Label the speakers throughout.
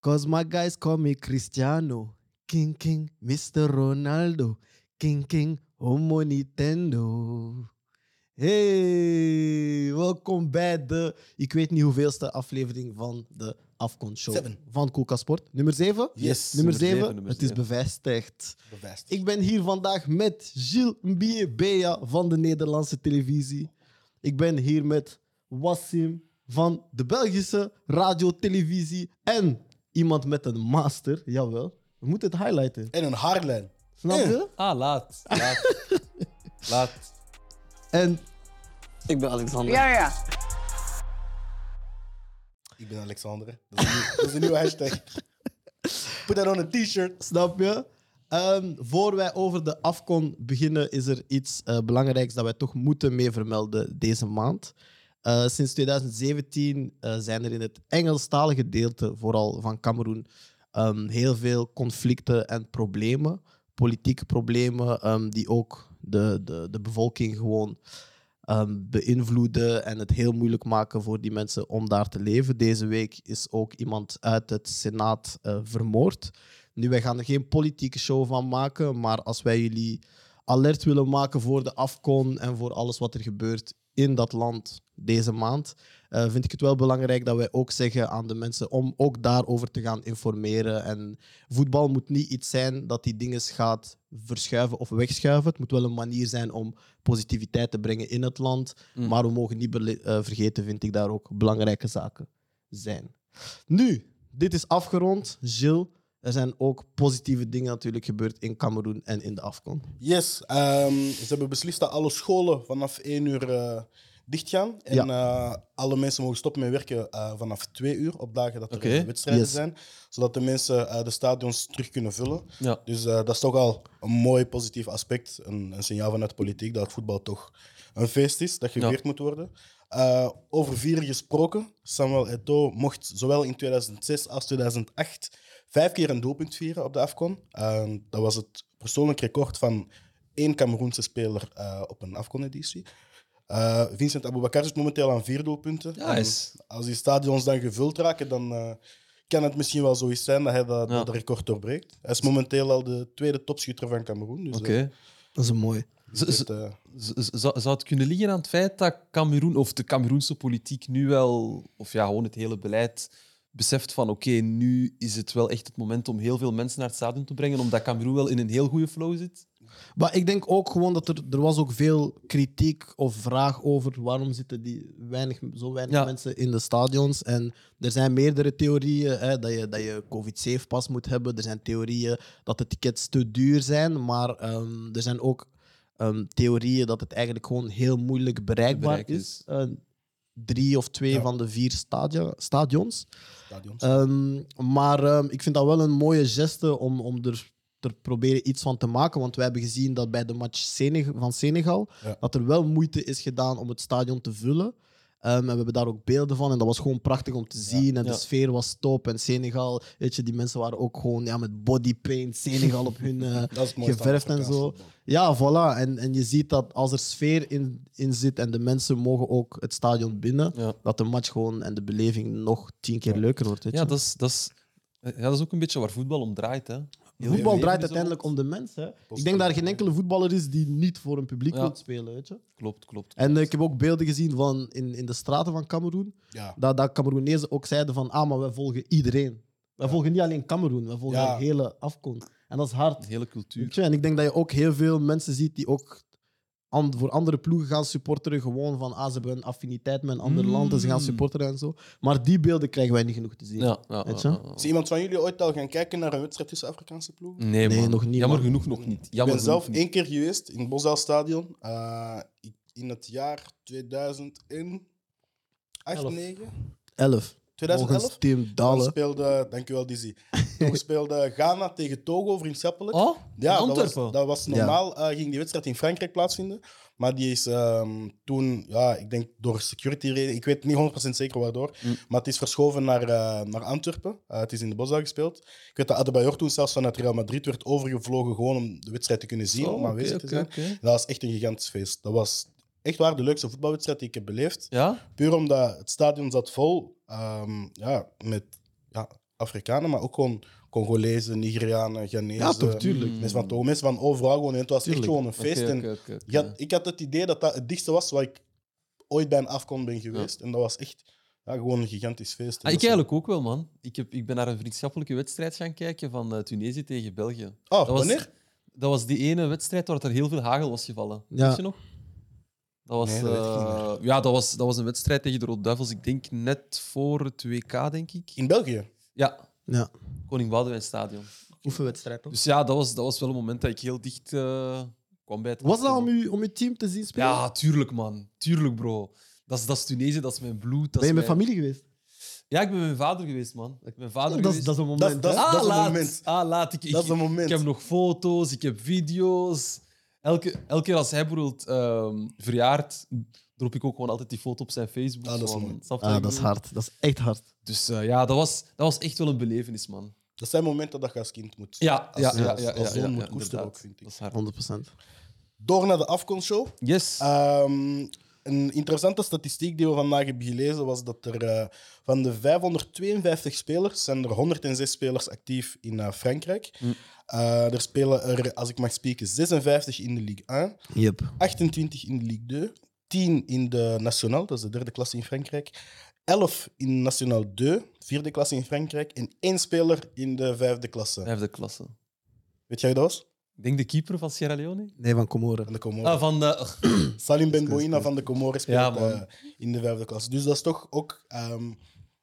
Speaker 1: Cause my guys call me Cristiano. King King, Mr. Ronaldo. King King, Homo Nintendo. Hey, welkom bij de, ik weet niet hoeveelste aflevering van de Afkonshow
Speaker 2: Seven.
Speaker 1: van Koelkast Sport. Nummer 7?
Speaker 2: Yes,
Speaker 1: nummer 7.
Speaker 3: nummer zeven, nummer
Speaker 1: het is
Speaker 3: zeven.
Speaker 1: bevestigd.
Speaker 2: Bevestigd.
Speaker 1: Ik ben hier vandaag met Gilles Mbie Bea van de Nederlandse televisie. Ik ben hier met Wassim van de Belgische radio, televisie en iemand met een master. Jawel, we moeten het highlighten.
Speaker 2: En een haarlijn.
Speaker 1: Snap je?
Speaker 3: Ah, laat. Laat. laat.
Speaker 1: En
Speaker 4: Ik ben Alexander.
Speaker 5: Ja, ja.
Speaker 2: Ik ben Alexander. hè. Dat is een, nieuw- dat is een nieuwe hashtag. Put that on a t-shirt.
Speaker 1: Snap je? Ehm, voor wij over de afkon beginnen, is er iets eh, belangrijks dat wij toch moeten mee vermelden deze maand. Eh, sinds 2017 eh, zijn er in het Engelstalige gedeelte, vooral van Cameroen, ehm, heel veel conflicten en problemen. Politieke problemen ehm, die ook de, de, de bevolking gewoon ehm, beïnvloeden en het heel moeilijk maken voor die mensen om daar te leven. Deze week is ook iemand uit het Senaat eh, vermoord. Nu, wij gaan er geen politieke show van maken, maar als wij jullie alert willen maken voor de afkon en voor alles wat er gebeurt in dat land deze maand, eh, vind ik het wel belangrijk dat wij ook zeggen aan de mensen om ook daarover te gaan informeren. En voetbal moet niet iets zijn dat die dingen gaat verschuiven of wegschuiven. Het moet wel een manier zijn om positiviteit te brengen in het land. Maar we mogen niet bele- eh, vergeten, vind ik, daar ook belangrijke zaken zijn. Nu, dit is afgerond. Gilles, er zijn ook positieve dingen natuurlijk gebeurd in Cameroen en in de Afcon.
Speaker 2: Yes, ehm, ze hebben beslist dat alle scholen vanaf 1 uur eh, dicht gaan. En
Speaker 1: Ja.
Speaker 2: eh, alle mensen mogen stoppen met werken eh, vanaf 2 uur op dagen dat er
Speaker 3: Oké,
Speaker 2: eh, wedstrijden
Speaker 1: yes.
Speaker 2: zijn. Zodat de mensen eh, de stadions terug kunnen vullen.
Speaker 3: Ja.
Speaker 2: Dus eh, dat is toch al een mooi positief aspect. Een, een signaal vanuit de politiek dat voetbal toch een feest is, dat gevierd moet worden. Eh, over vieren gesproken, Samuel Eto'o mocht zowel in 2006 als 2008 vijf keer een doelpunt vieren op de AFCON. Eh, dat was het persoonlijk record van één Cameroense speler eh, op een AFCON-editie. Eh, Vincent Aboubakar zit momenteel aan vier doelpunten.
Speaker 3: Nice.
Speaker 2: En Als die stadions dan gevuld raken, dan eh, kan het misschien wel zoiets zijn dat hij dat,
Speaker 3: Ja.
Speaker 2: dat record doorbreekt. Hij is momenteel al de tweede topschutter van Cameroen. Dus, eh,
Speaker 3: Oké.
Speaker 1: Dat is een mooi.
Speaker 3: Z-
Speaker 2: dus
Speaker 3: z-
Speaker 2: het, eh,
Speaker 3: z- Zou zou het kunnen liggen aan het feit dat Cameroen, of de Cameroense politiek nu wel, of ja, gewoon het hele beleid, beseft van oké, nu is het wel echt het moment om heel veel mensen naar het stadion te brengen, omdat Cameroen wel in een heel goede flow zit?
Speaker 1: Maar ik denk ook gewoon dat er, er was ook veel kritiek of vraag over waarom zitten die weinig, zo weinig
Speaker 3: Ja.
Speaker 1: mensen in de stadions. En er zijn meerdere theorieën hè, dat je, dat je COVID-safe pas moet hebben. Er zijn theorieën dat de tickets te duur zijn. Maar ehm, er zijn ook ehm, theorieën dat het eigenlijk gewoon heel moeilijk bereikbaar
Speaker 3: Bereik
Speaker 1: is.
Speaker 3: is.
Speaker 1: Eh, drie of twee
Speaker 2: Ja.
Speaker 1: van de vier stadia- stadions.
Speaker 2: stadions.
Speaker 3: Eh,
Speaker 1: Ehm, maar ehm, ik vind dat wel een mooie geste om, om er te proberen iets van te maken. Want wij hebben gezien dat bij de match Seneg- van Senegal,
Speaker 2: Ja.
Speaker 1: dat er wel moeite is gedaan om het stadion te vullen. Ehm, en we hebben daar ook beelden van. En dat was gewoon prachtig om te zien. En de
Speaker 3: Ja.
Speaker 1: sfeer was top. En Senegal, weet je, die mensen waren ook gewoon ja, met body paint Senegal op hun eh,
Speaker 2: dat is het mooiste aan
Speaker 1: geverfd en
Speaker 2: Afrikaans
Speaker 1: zo.
Speaker 2: voetbal.
Speaker 1: Ja, voilà. En, en je ziet dat als er sfeer in, in zit en de mensen mogen ook het stadion binnen,
Speaker 3: Ja.
Speaker 1: dat de match gewoon en de beleving nog tien keer leuker wordt. weet
Speaker 3: Ja,
Speaker 1: je.
Speaker 3: dat is, dat is, ja, dat is ook een beetje waar voetbal om draait. Hè. Heel veel
Speaker 1: Voetbal
Speaker 3: leven
Speaker 1: draait
Speaker 3: is er
Speaker 1: uiteindelijk om de mens. Hè. Ik
Speaker 2: Positief.
Speaker 1: denk dat er geen enkele voetballer is die niet voor een publiek
Speaker 3: Ja.
Speaker 1: wil spelen. Weet je.
Speaker 3: Klopt, klopt.
Speaker 1: En eh, ik heb ook beelden gezien van in, in de straten van Cameroen.
Speaker 2: Ja.
Speaker 1: Dat, dat Cameroenezen ook zeiden van, ah, maar wij volgen iedereen. Wij volgen niet alleen Cameroen, wij volgen
Speaker 2: Ja.
Speaker 1: de hele afkomst. En dat is hard.
Speaker 3: De hele
Speaker 1: Weet
Speaker 3: cultuur.
Speaker 1: je. En ik denk dat je ook heel veel mensen ziet die ook an- voor andere ploegen gaan supporteren. Gewoon van, ah, ze hebben een affiniteit met een ander
Speaker 3: Mm.
Speaker 1: land en ze gaan supporteren en zo. Maar die beelden krijgen wij niet genoeg te zien.
Speaker 3: Ja, ja,
Speaker 1: Weet
Speaker 3: ja,
Speaker 1: je?
Speaker 3: ja, ja.
Speaker 2: Is iemand van jullie ooit al gaan kijken naar een wedstrijd tussen Afrikaanse ploegen?
Speaker 3: Nee,
Speaker 1: Nee,
Speaker 3: man.
Speaker 1: nog niet,
Speaker 3: Jammer
Speaker 1: man.
Speaker 3: genoeg nog niet.
Speaker 2: Ik
Speaker 3: Mm, Jammer
Speaker 2: ben zelf
Speaker 3: genoeg niet.
Speaker 2: één keer geweest in het Bosuil Stadion. eh, ik- in het jaar 2008,
Speaker 1: Elf.
Speaker 2: 9?
Speaker 1: Elf.
Speaker 2: 2011?
Speaker 1: Volgens Tim
Speaker 2: Toen
Speaker 1: Dalen.
Speaker 2: speelde, dankjewel Dizzy. Toen speelde Ghana tegen Togo vriendschappelijk.
Speaker 3: Oh,
Speaker 2: Ja, dat was,
Speaker 3: Antwerpen.
Speaker 2: dat was normaal. eh, ging die wedstrijd in Frankrijk plaatsvinden. Maar die is ehm, toen, ja, ik denk door security reden, ik weet niet 100% zeker waardoor.
Speaker 3: Mm.
Speaker 2: Maar het is verschoven naar, eh, naar Antwerpen. Eh, het is in de Bosdag gespeeld. Ik weet dat Adebayor toen zelfs vanuit Real Madrid werd overgevlogen gewoon om de wedstrijd te kunnen zien,
Speaker 3: Oh,
Speaker 2: om aanwezig
Speaker 3: oké,
Speaker 2: te
Speaker 3: oké,
Speaker 2: zijn.
Speaker 3: oké.
Speaker 2: Dat was echt een gigantisch feest. Dat was echt waar de leukste voetbalwedstrijd die ik heb beleefd.
Speaker 3: Ja?
Speaker 2: Puur omdat het stadion zat vol ehm, ja, met ja, Afrikanen, maar ook gewoon Congolezen, Nigerianen, Ghanese.
Speaker 1: Ja, toch, tuurlijk.
Speaker 2: Mensen van Togo, mensen van overal gewoon. En het was echt
Speaker 1: Tuurlijk.
Speaker 2: gewoon een feest.
Speaker 3: Oké,
Speaker 2: en
Speaker 3: oké, oké, oké.
Speaker 2: ik had, ik had het idee dat dat het dichtste was waar ik ooit bij een afkon ben geweest. En dat was echt ja, gewoon een gigantisch feest. Dus- En
Speaker 3: Ah, ik
Speaker 2: dat is-
Speaker 3: eigenlijk ook wel, man. Ik, heb, ik ben naar een vriendschappelijke wedstrijd gaan kijken van eh, Tunesië tegen België.
Speaker 2: Ah,
Speaker 3: Dat was-
Speaker 2: wanneer?
Speaker 3: Dat was die ene wedstrijd waar er heel veel hagel was gevallen.
Speaker 1: Ja.
Speaker 3: Weet je nog? Dat was,
Speaker 2: Nee, dat weet ik niet
Speaker 3: eh, ja, dat was, dat was een wedstrijd tegen de Rode Duivels. Ik denk net voor het WK, denk ik.
Speaker 2: In België.
Speaker 3: Ja,
Speaker 1: Ja.
Speaker 3: Koning Boudewijn Stadion.
Speaker 1: Oefenwedstrijd toch?
Speaker 3: Dus ja, dat was, dat was wel een moment dat ik heel dicht eh, kwam bij het
Speaker 1: Was dat om
Speaker 3: afkomen.
Speaker 1: je, om je team te zien spelen?
Speaker 3: Ja, tuurlijk, man. Tuurlijk, bro. Dat is, dat is Tunesië, dat is mijn bloed.
Speaker 1: ben
Speaker 3: Dat
Speaker 1: je
Speaker 3: is
Speaker 1: met
Speaker 3: mijn...
Speaker 1: familie geweest?
Speaker 3: Ja, ik ben met mijn vader geweest, man. Ik ben Mijn vader
Speaker 1: Ja, dat, is-
Speaker 3: geweest.
Speaker 1: dat is een moment.
Speaker 2: Dat-
Speaker 1: hè?
Speaker 2: dat-
Speaker 3: ah,
Speaker 2: een
Speaker 3: laat.
Speaker 2: moment.
Speaker 3: Ah, laat. Ik, ik,
Speaker 2: Dat is een moment.
Speaker 3: ik heb nog foto's, ik heb video's. Elke, elke keer als hij bijvoorbeeld ehm, verjaart, drop ik ook gewoon altijd die foto op zijn Facebook.
Speaker 2: Ah, dat is
Speaker 3: Van,
Speaker 2: mooi.
Speaker 3: snap je wat
Speaker 1: Ah,
Speaker 3: ik
Speaker 1: dat is
Speaker 3: bedoel?
Speaker 1: hard. Dat is echt hard.
Speaker 3: Dus eh, ja, dat was, dat was echt wel een belevenis, man.
Speaker 2: Dat zijn momenten dat je als kind moet.
Speaker 3: Ja,
Speaker 2: als-
Speaker 3: ja,
Speaker 2: als-
Speaker 3: ja.
Speaker 2: als
Speaker 3: ja, ja,
Speaker 2: zoon
Speaker 3: ja,
Speaker 2: moet
Speaker 3: ja,
Speaker 2: koesteren
Speaker 3: inderdaad.
Speaker 2: ook, vind ik.
Speaker 3: Dat is hard.
Speaker 1: 100%.
Speaker 2: Door naar de afkonshow.
Speaker 3: Yes.
Speaker 2: Ehm, een interessante statistiek die we vandaag hebben gelezen was dat er eh, van de 552 spelers zijn er 106 spelers actief in eh, Frankrijk.
Speaker 3: Hm.
Speaker 2: Eh, er spelen er, als ik mag spreken, 56 in de Ligue 1,
Speaker 1: Yep.
Speaker 2: 28 in de Ligue 2, 10 in de Nationale, dat is de derde klasse in Frankrijk, 11 in Nationale 2, vierde klasse in Frankrijk, en één speler in de vijfde klasse.
Speaker 3: Vijfde klasse.
Speaker 2: Weet jij wie dat was?
Speaker 3: Ik denk de keeper van Sierra Leone.
Speaker 1: Nee, van Comoren.
Speaker 2: Van de Comoren.
Speaker 3: Ah, van de...
Speaker 2: Salim Ben Boina van de Comoren speelt
Speaker 3: Ja, man.
Speaker 2: eh, in de vijfde klas. Dus dat is toch ook. ehm,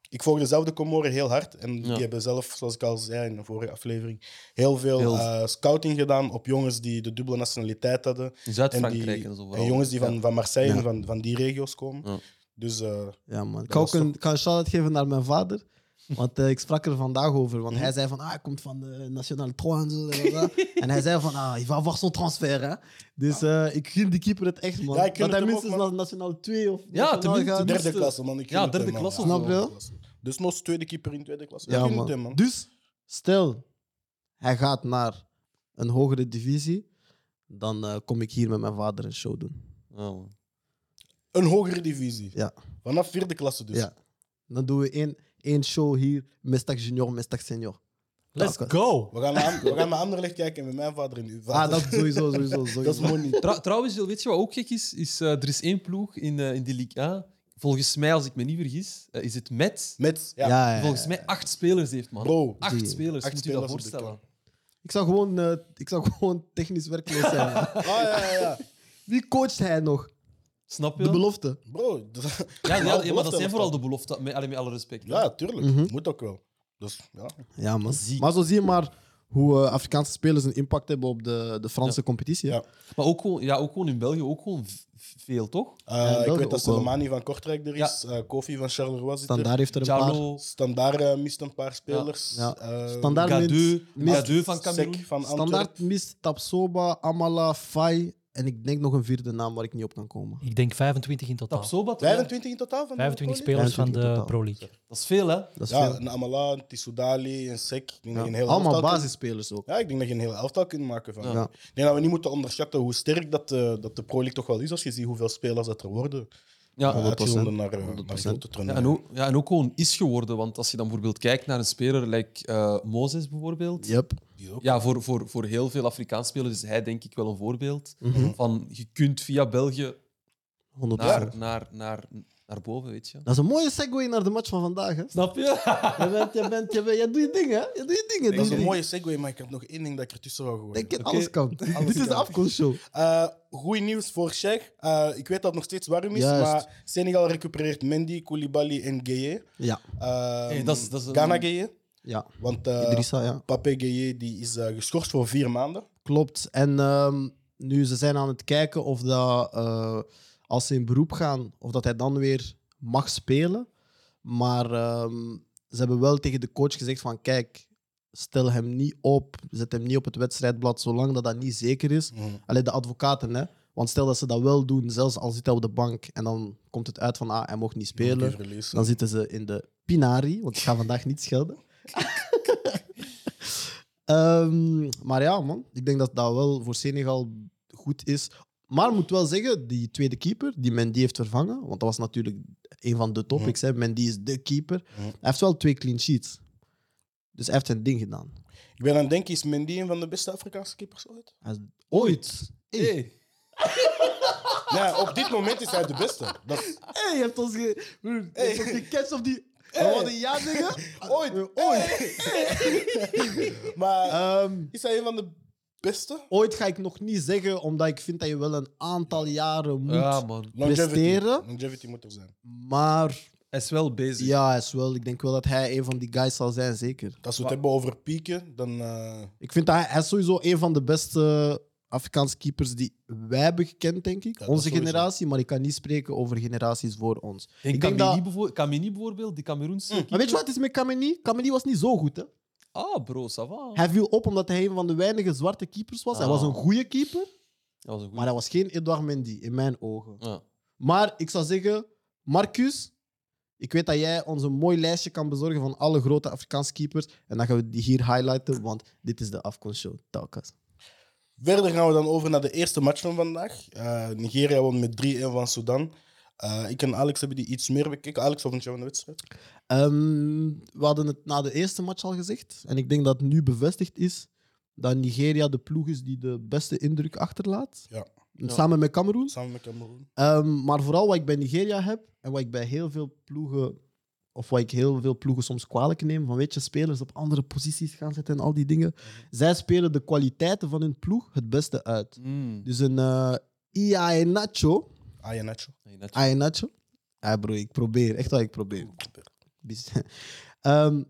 Speaker 2: ik volg dezelfde Comoren heel hard. En
Speaker 3: Ja.
Speaker 2: die hebben zelf, zoals ik al zei in de vorige aflevering, heel veel
Speaker 3: Heel-
Speaker 2: eh, scouting gedaan op jongens die de dubbele nationaliteit hadden.
Speaker 3: in
Speaker 2: En, die,
Speaker 3: Zuid-Frankrijk en zo.
Speaker 2: en
Speaker 3: vooral.
Speaker 2: jongens die van,
Speaker 3: Ja.
Speaker 2: van Marseille
Speaker 1: Ja.
Speaker 2: en van, van die regio's komen.
Speaker 3: Ja.
Speaker 2: Dus eh,
Speaker 1: Ja, man. Ik
Speaker 2: Dat
Speaker 1: kan
Speaker 2: was
Speaker 1: ook een, ik kan een shout-out geven naar mijn vader. Want eh, ik sprak er vandaag over. Want hij zei van, ah, hij komt van de Nationale 3 en zo. en dat. en hij zei van, ah, il va avoir son transfer, hè. Dus eh, ik gun die keeper het echt, man.
Speaker 2: Ja, ik gun
Speaker 1: dat hij
Speaker 2: het hem ook,
Speaker 1: minstens
Speaker 2: man.
Speaker 1: naar Nationale 2 of
Speaker 3: Ja,
Speaker 1: Nationale
Speaker 3: tenminste,
Speaker 1: gaat.
Speaker 3: tenminste.
Speaker 2: derde klasse, man. Ik
Speaker 3: Ja,
Speaker 2: gun het
Speaker 3: derde
Speaker 2: hem,
Speaker 3: klasse
Speaker 2: man. Ja,
Speaker 1: of zo.
Speaker 2: derde klasse. Dus nog tweede keeper in tweede klasse.
Speaker 1: Ja,
Speaker 2: ik gun
Speaker 1: man.
Speaker 2: het hem, man.
Speaker 1: Dus, stel, hij gaat naar een hogere divisie. Dan eh, kom ik hier met mijn vader een show doen.
Speaker 3: Ja, Ah, man.
Speaker 2: Een hogere divisie.
Speaker 1: Ja.
Speaker 2: Vanaf vierde klasse dus.
Speaker 1: Ja. Dan doen we één, één show hier. Mestak junior, mestak senior.
Speaker 2: Ah,
Speaker 3: Let's
Speaker 1: Welke?
Speaker 3: go!
Speaker 2: We gaan, naar, we gaan naar Anderlecht kijken met mijn vader en uw vader.
Speaker 1: Ah, dat sowieso, sowieso. sowieso.
Speaker 2: dat is money.
Speaker 3: Trou- trouwens, Jill, weet je wat ook gek is? is eh, er is één ploeg in, eh, in die Ligue 1. Volgens mij, als ik me niet vergis, eh, is het met.
Speaker 2: Met, ja.
Speaker 1: Ja, ja, ja.
Speaker 3: Volgens mij acht spelers heeft, man.
Speaker 2: Bro,
Speaker 3: acht
Speaker 1: die-
Speaker 3: spelers,
Speaker 2: acht
Speaker 3: moet je dat
Speaker 2: spelers op de
Speaker 3: voorstellen.
Speaker 1: Ik zou gewoon, eh, ik zou gewoon technisch werkloos zijn. ja.
Speaker 2: Ah, ja, ja, ja.
Speaker 1: Wie coacht hij nog?
Speaker 3: Snap je?
Speaker 1: De belofte.
Speaker 2: Bro, dat-
Speaker 3: ja, ja, ja, maar dat
Speaker 2: belofte
Speaker 3: zijn vooral
Speaker 2: was
Speaker 3: de beloften, met, allee, met alle respect.
Speaker 2: ja, tuurlijk.
Speaker 1: Mhm.
Speaker 2: Moet ook wel. Dus, ja.
Speaker 1: Ja, man.
Speaker 3: Ziek.
Speaker 1: Maar zo zie je maar hoe eh, Afrikaanse spelers een impact hebben op de, de Franse competitie. hè.
Speaker 2: Ja.
Speaker 3: Maar ook gewoon, ja, ook gewoon in België, ook gewoon v- veel, toch?
Speaker 2: Eh,
Speaker 1: Ja,
Speaker 2: ik
Speaker 1: België
Speaker 2: weet dat
Speaker 1: ook wel.
Speaker 2: Soleimani van Kortrijk er is. eh, Kofi van Charleroi zit er.
Speaker 1: Standaard heeft er een paar.
Speaker 3: Jalo,
Speaker 2: Standaard eh, mist een paar spelers.
Speaker 1: Ja.
Speaker 2: Eh,
Speaker 1: Standaard mist,
Speaker 3: Gadeu,
Speaker 1: mist-
Speaker 3: Gadeu van
Speaker 2: Sek
Speaker 3: Cameroen.
Speaker 2: van Antwerpen.
Speaker 1: standaard mist Tapsoba, Amala, Fai. En ik denk nog een vierde naam waar ik niet op kan komen.
Speaker 5: Ik denk 25 in totaal.
Speaker 3: Tapsoba, toch?
Speaker 2: 25 in totaal van de
Speaker 5: 25
Speaker 2: Napoli?
Speaker 5: spelers van
Speaker 1: 25 in
Speaker 5: de
Speaker 1: totaal.
Speaker 5: Pro League.
Speaker 3: Dat is veel, hè?
Speaker 1: Dat is
Speaker 2: Ja,
Speaker 1: veel.
Speaker 2: een Amala, een Tissoudali, een Sek. Ik denk dat je een hele
Speaker 1: Allemaal
Speaker 2: elftal kunt-
Speaker 1: basisspelers ook.
Speaker 2: Ja, ik denk dat je een hele elftal kunt maken van.
Speaker 1: Ja.
Speaker 2: Ik denk dat we niet moeten onderschatten hoe sterk dat, eh, dat de Pro League toch wel is. Als je ziet hoeveel spelers dat er worden.
Speaker 3: Ja,
Speaker 1: 100%.
Speaker 2: Uitgezonden naar, eh, naar
Speaker 1: 100%.
Speaker 2: grote
Speaker 3: Ja,
Speaker 2: toernooien.
Speaker 3: en, ook, ja, en ook gewoon is geworden. Want als je dan bijvoorbeeld kijkt naar een speler, like eh, Mozes bijvoorbeeld.
Speaker 1: Yep.
Speaker 2: Die ook.
Speaker 3: Ja, voor, voor, voor heel veel Afrikaans spelers is hij denk ik wel een voorbeeld.
Speaker 1: Mhm.
Speaker 3: Van je kunt via België
Speaker 1: 100%.
Speaker 3: naar, naar, naar, naar boven, weet je.
Speaker 1: Dat is een mooie segue naar de match van vandaag. Hè.
Speaker 3: Snap je?
Speaker 1: Je bent, je bent, je bent, je doet je dingen, hè? Je doet je dingen.
Speaker 2: Dat is
Speaker 1: doe
Speaker 2: een
Speaker 1: je
Speaker 2: mooie segue, maar ik heb nog één ding dat ik ertussen
Speaker 1: dingen.
Speaker 2: wil
Speaker 1: Denk
Speaker 2: gooien.
Speaker 1: je, alles kan. Dit is de
Speaker 2: kan.
Speaker 1: afkomstshow.
Speaker 2: Eh goed nieuws voor Sheikh. Eh, ik weet dat het nog steeds warm is,
Speaker 1: Juist.
Speaker 2: maar Senegal recupereert Mendy, Koulibaali en Gueye.
Speaker 1: Ja,
Speaker 2: Eh,
Speaker 3: Hey, dat is- dat is een-
Speaker 2: Ghana Gueye.
Speaker 1: ja.
Speaker 2: Want eh
Speaker 1: Idrissa, ja.
Speaker 2: Papé Gueye die is eh, geschorst voor vier maanden.
Speaker 1: Klopt. En ehm, nu ze zijn aan het kijken of dat, eh, als ze in beroep gaan, of dat hij dan weer mag spelen. Maar ehm, ze hebben wel tegen de coach gezegd van kijk, stel hem niet op, zet hem niet op het wedstrijdblad, zolang dat dat niet zeker is. Alleen de advocaten, hè. Want stel dat ze dat wel doen, zelfs al zit hij op de bank en dan komt het uit van ah, hij mocht niet spelen.
Speaker 2: Die verliezen.
Speaker 1: Dan zitten ze in de Pinari, want ik ga vandaag niet schelden. Ehm, maar ja, man, ik denk dat dat wel voor Senegal goed is. Maar ik moet wel zeggen, die tweede keeper die Mendy heeft vervangen, want dat was natuurlijk een van de topics. Hè. Mendy is de keeper. Hij heeft wel twee clean sheets. Dus hij heeft zijn ding gedaan.
Speaker 2: Ik ben aan het denken, is Mendy een van de beste Afrikaanse keepers ooit?
Speaker 1: Hij is ooit. Hé, hey.
Speaker 3: Hey.
Speaker 1: Ah.
Speaker 2: Ja, op dit moment is hij de beste. Dat,
Speaker 1: hey, je hebt ons ge... broer, je hebt ons gecatcht op die... Oh, We hadden ja dingen.
Speaker 2: ooit, ooit. maar
Speaker 1: Ehm,
Speaker 2: is hij een van de beste?
Speaker 1: ooit ga ik nog niet zeggen, omdat ik vind dat je wel een aantal jaren moet.
Speaker 3: Ja, man.
Speaker 1: Presteren?
Speaker 2: Longevity moet er zijn.
Speaker 1: Maar
Speaker 3: Hij is wel bezig.
Speaker 1: ja, hij is wel, ik denk wel dat hij een van die guys zal zijn, zeker.
Speaker 2: Als we het hebben over pieken, dan... eh,
Speaker 1: Ik vind dat hij, hij is sowieso een van de beste Afrikaanse keepers die wij hebben gekend, denk ik.
Speaker 2: dat
Speaker 1: Onze
Speaker 2: sowieso.
Speaker 1: generatie, maar ik kan niet spreken over generaties voor ons.
Speaker 3: En
Speaker 1: Ik denk
Speaker 3: Kameni
Speaker 1: dat- Mm.
Speaker 3: bijvoor- Kameni bijvoorbeeld, die Cameroense.
Speaker 1: Maar weet je wat het is met Kameni? Kameni was niet zo goed, hè?
Speaker 3: Ah, bro, ça va.
Speaker 1: Hij viel op omdat hij een van de weinige zwarte keepers was. Hij
Speaker 3: Ah.
Speaker 1: was een goede keeper,
Speaker 3: Dat was een
Speaker 1: maar
Speaker 3: goede.
Speaker 1: hij was geen Edouard Mendy, in mijn ogen.
Speaker 3: Ja.
Speaker 1: Maar ik zou zeggen, Marcus, ik weet dat jij ons een mooi lijstje kan bezorgen van alle grote Afrikaanse keepers. En dan gaan we die hier highlighten, want dit is de Afcon Show. Telkens.
Speaker 2: Verder gaan we dan over naar de eerste match van vandaag. Eh, Nigeria won met 3-1 van Sudan. Eh, ik en Alex hebben die iets meer bekeken. Alex, wat vond je van de wedstrijd?
Speaker 1: Ehm, we hadden het na de eerste match al gezegd. En ik denk dat het nu bevestigd is dat Nigeria de ploeg is die de beste indruk achterlaat.
Speaker 2: Ja.
Speaker 1: Samen met Cameroen.
Speaker 2: Samen met Cameroen.
Speaker 1: Ehm, maar vooral wat ik bij Nigeria heb en wat ik bij heel veel ploegen, of wat ik heel veel ploegen soms kwalijk neem, van weet je, spelers op andere posities gaan zetten en al die dingen.
Speaker 3: Mhm.
Speaker 1: Zij spelen de kwaliteiten van hun ploeg het beste uit.
Speaker 3: Mm.
Speaker 1: Dus een eh Iheanacho,
Speaker 2: Ah, ja, Nacho.
Speaker 3: Nee, net-
Speaker 1: Iheanacho, ja bro, ik probeer, echt wat ik probeer. Bis- Ehm,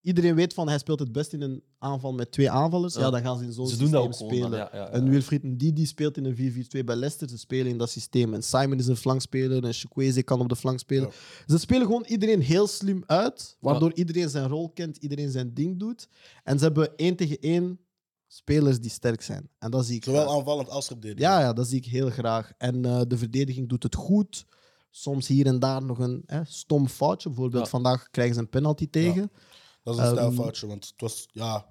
Speaker 1: iedereen weet van hij speelt het best in een aanval met twee aanvallers. Ja,
Speaker 3: Ja.
Speaker 1: dan gaan ze dus in zo'n
Speaker 3: Ze doen dat
Speaker 1: systeem
Speaker 3: ook
Speaker 1: spelen.
Speaker 3: gewoon. dan, Ja, ja, ja.
Speaker 1: En Wilfried Ndidi speelt in een 4-4-2 bij Leicester. Ze spelen in dat systeem. En Simon is een flankspeler en Chukwueze kan op de flank spelen.
Speaker 2: Ja.
Speaker 1: Ze spelen gewoon iedereen heel slim uit, waardoor iedereen zijn rol kent, iedereen zijn ding doet. En ze hebben één tegen één spelers die sterk zijn. En dat zie ik graag.
Speaker 2: Zowel aanvallend als verdedigend.
Speaker 1: Ja, ja, dat zie ik heel graag. En eh, de verdediging doet het goed. Soms hier en daar nog een hè, stom foutje. Bijvoorbeeld
Speaker 3: Ja.
Speaker 1: vandaag krijgen ze een penalty tegen.
Speaker 2: Dat is een
Speaker 1: Ehm,
Speaker 2: stijlfoutje, want het was... Ja,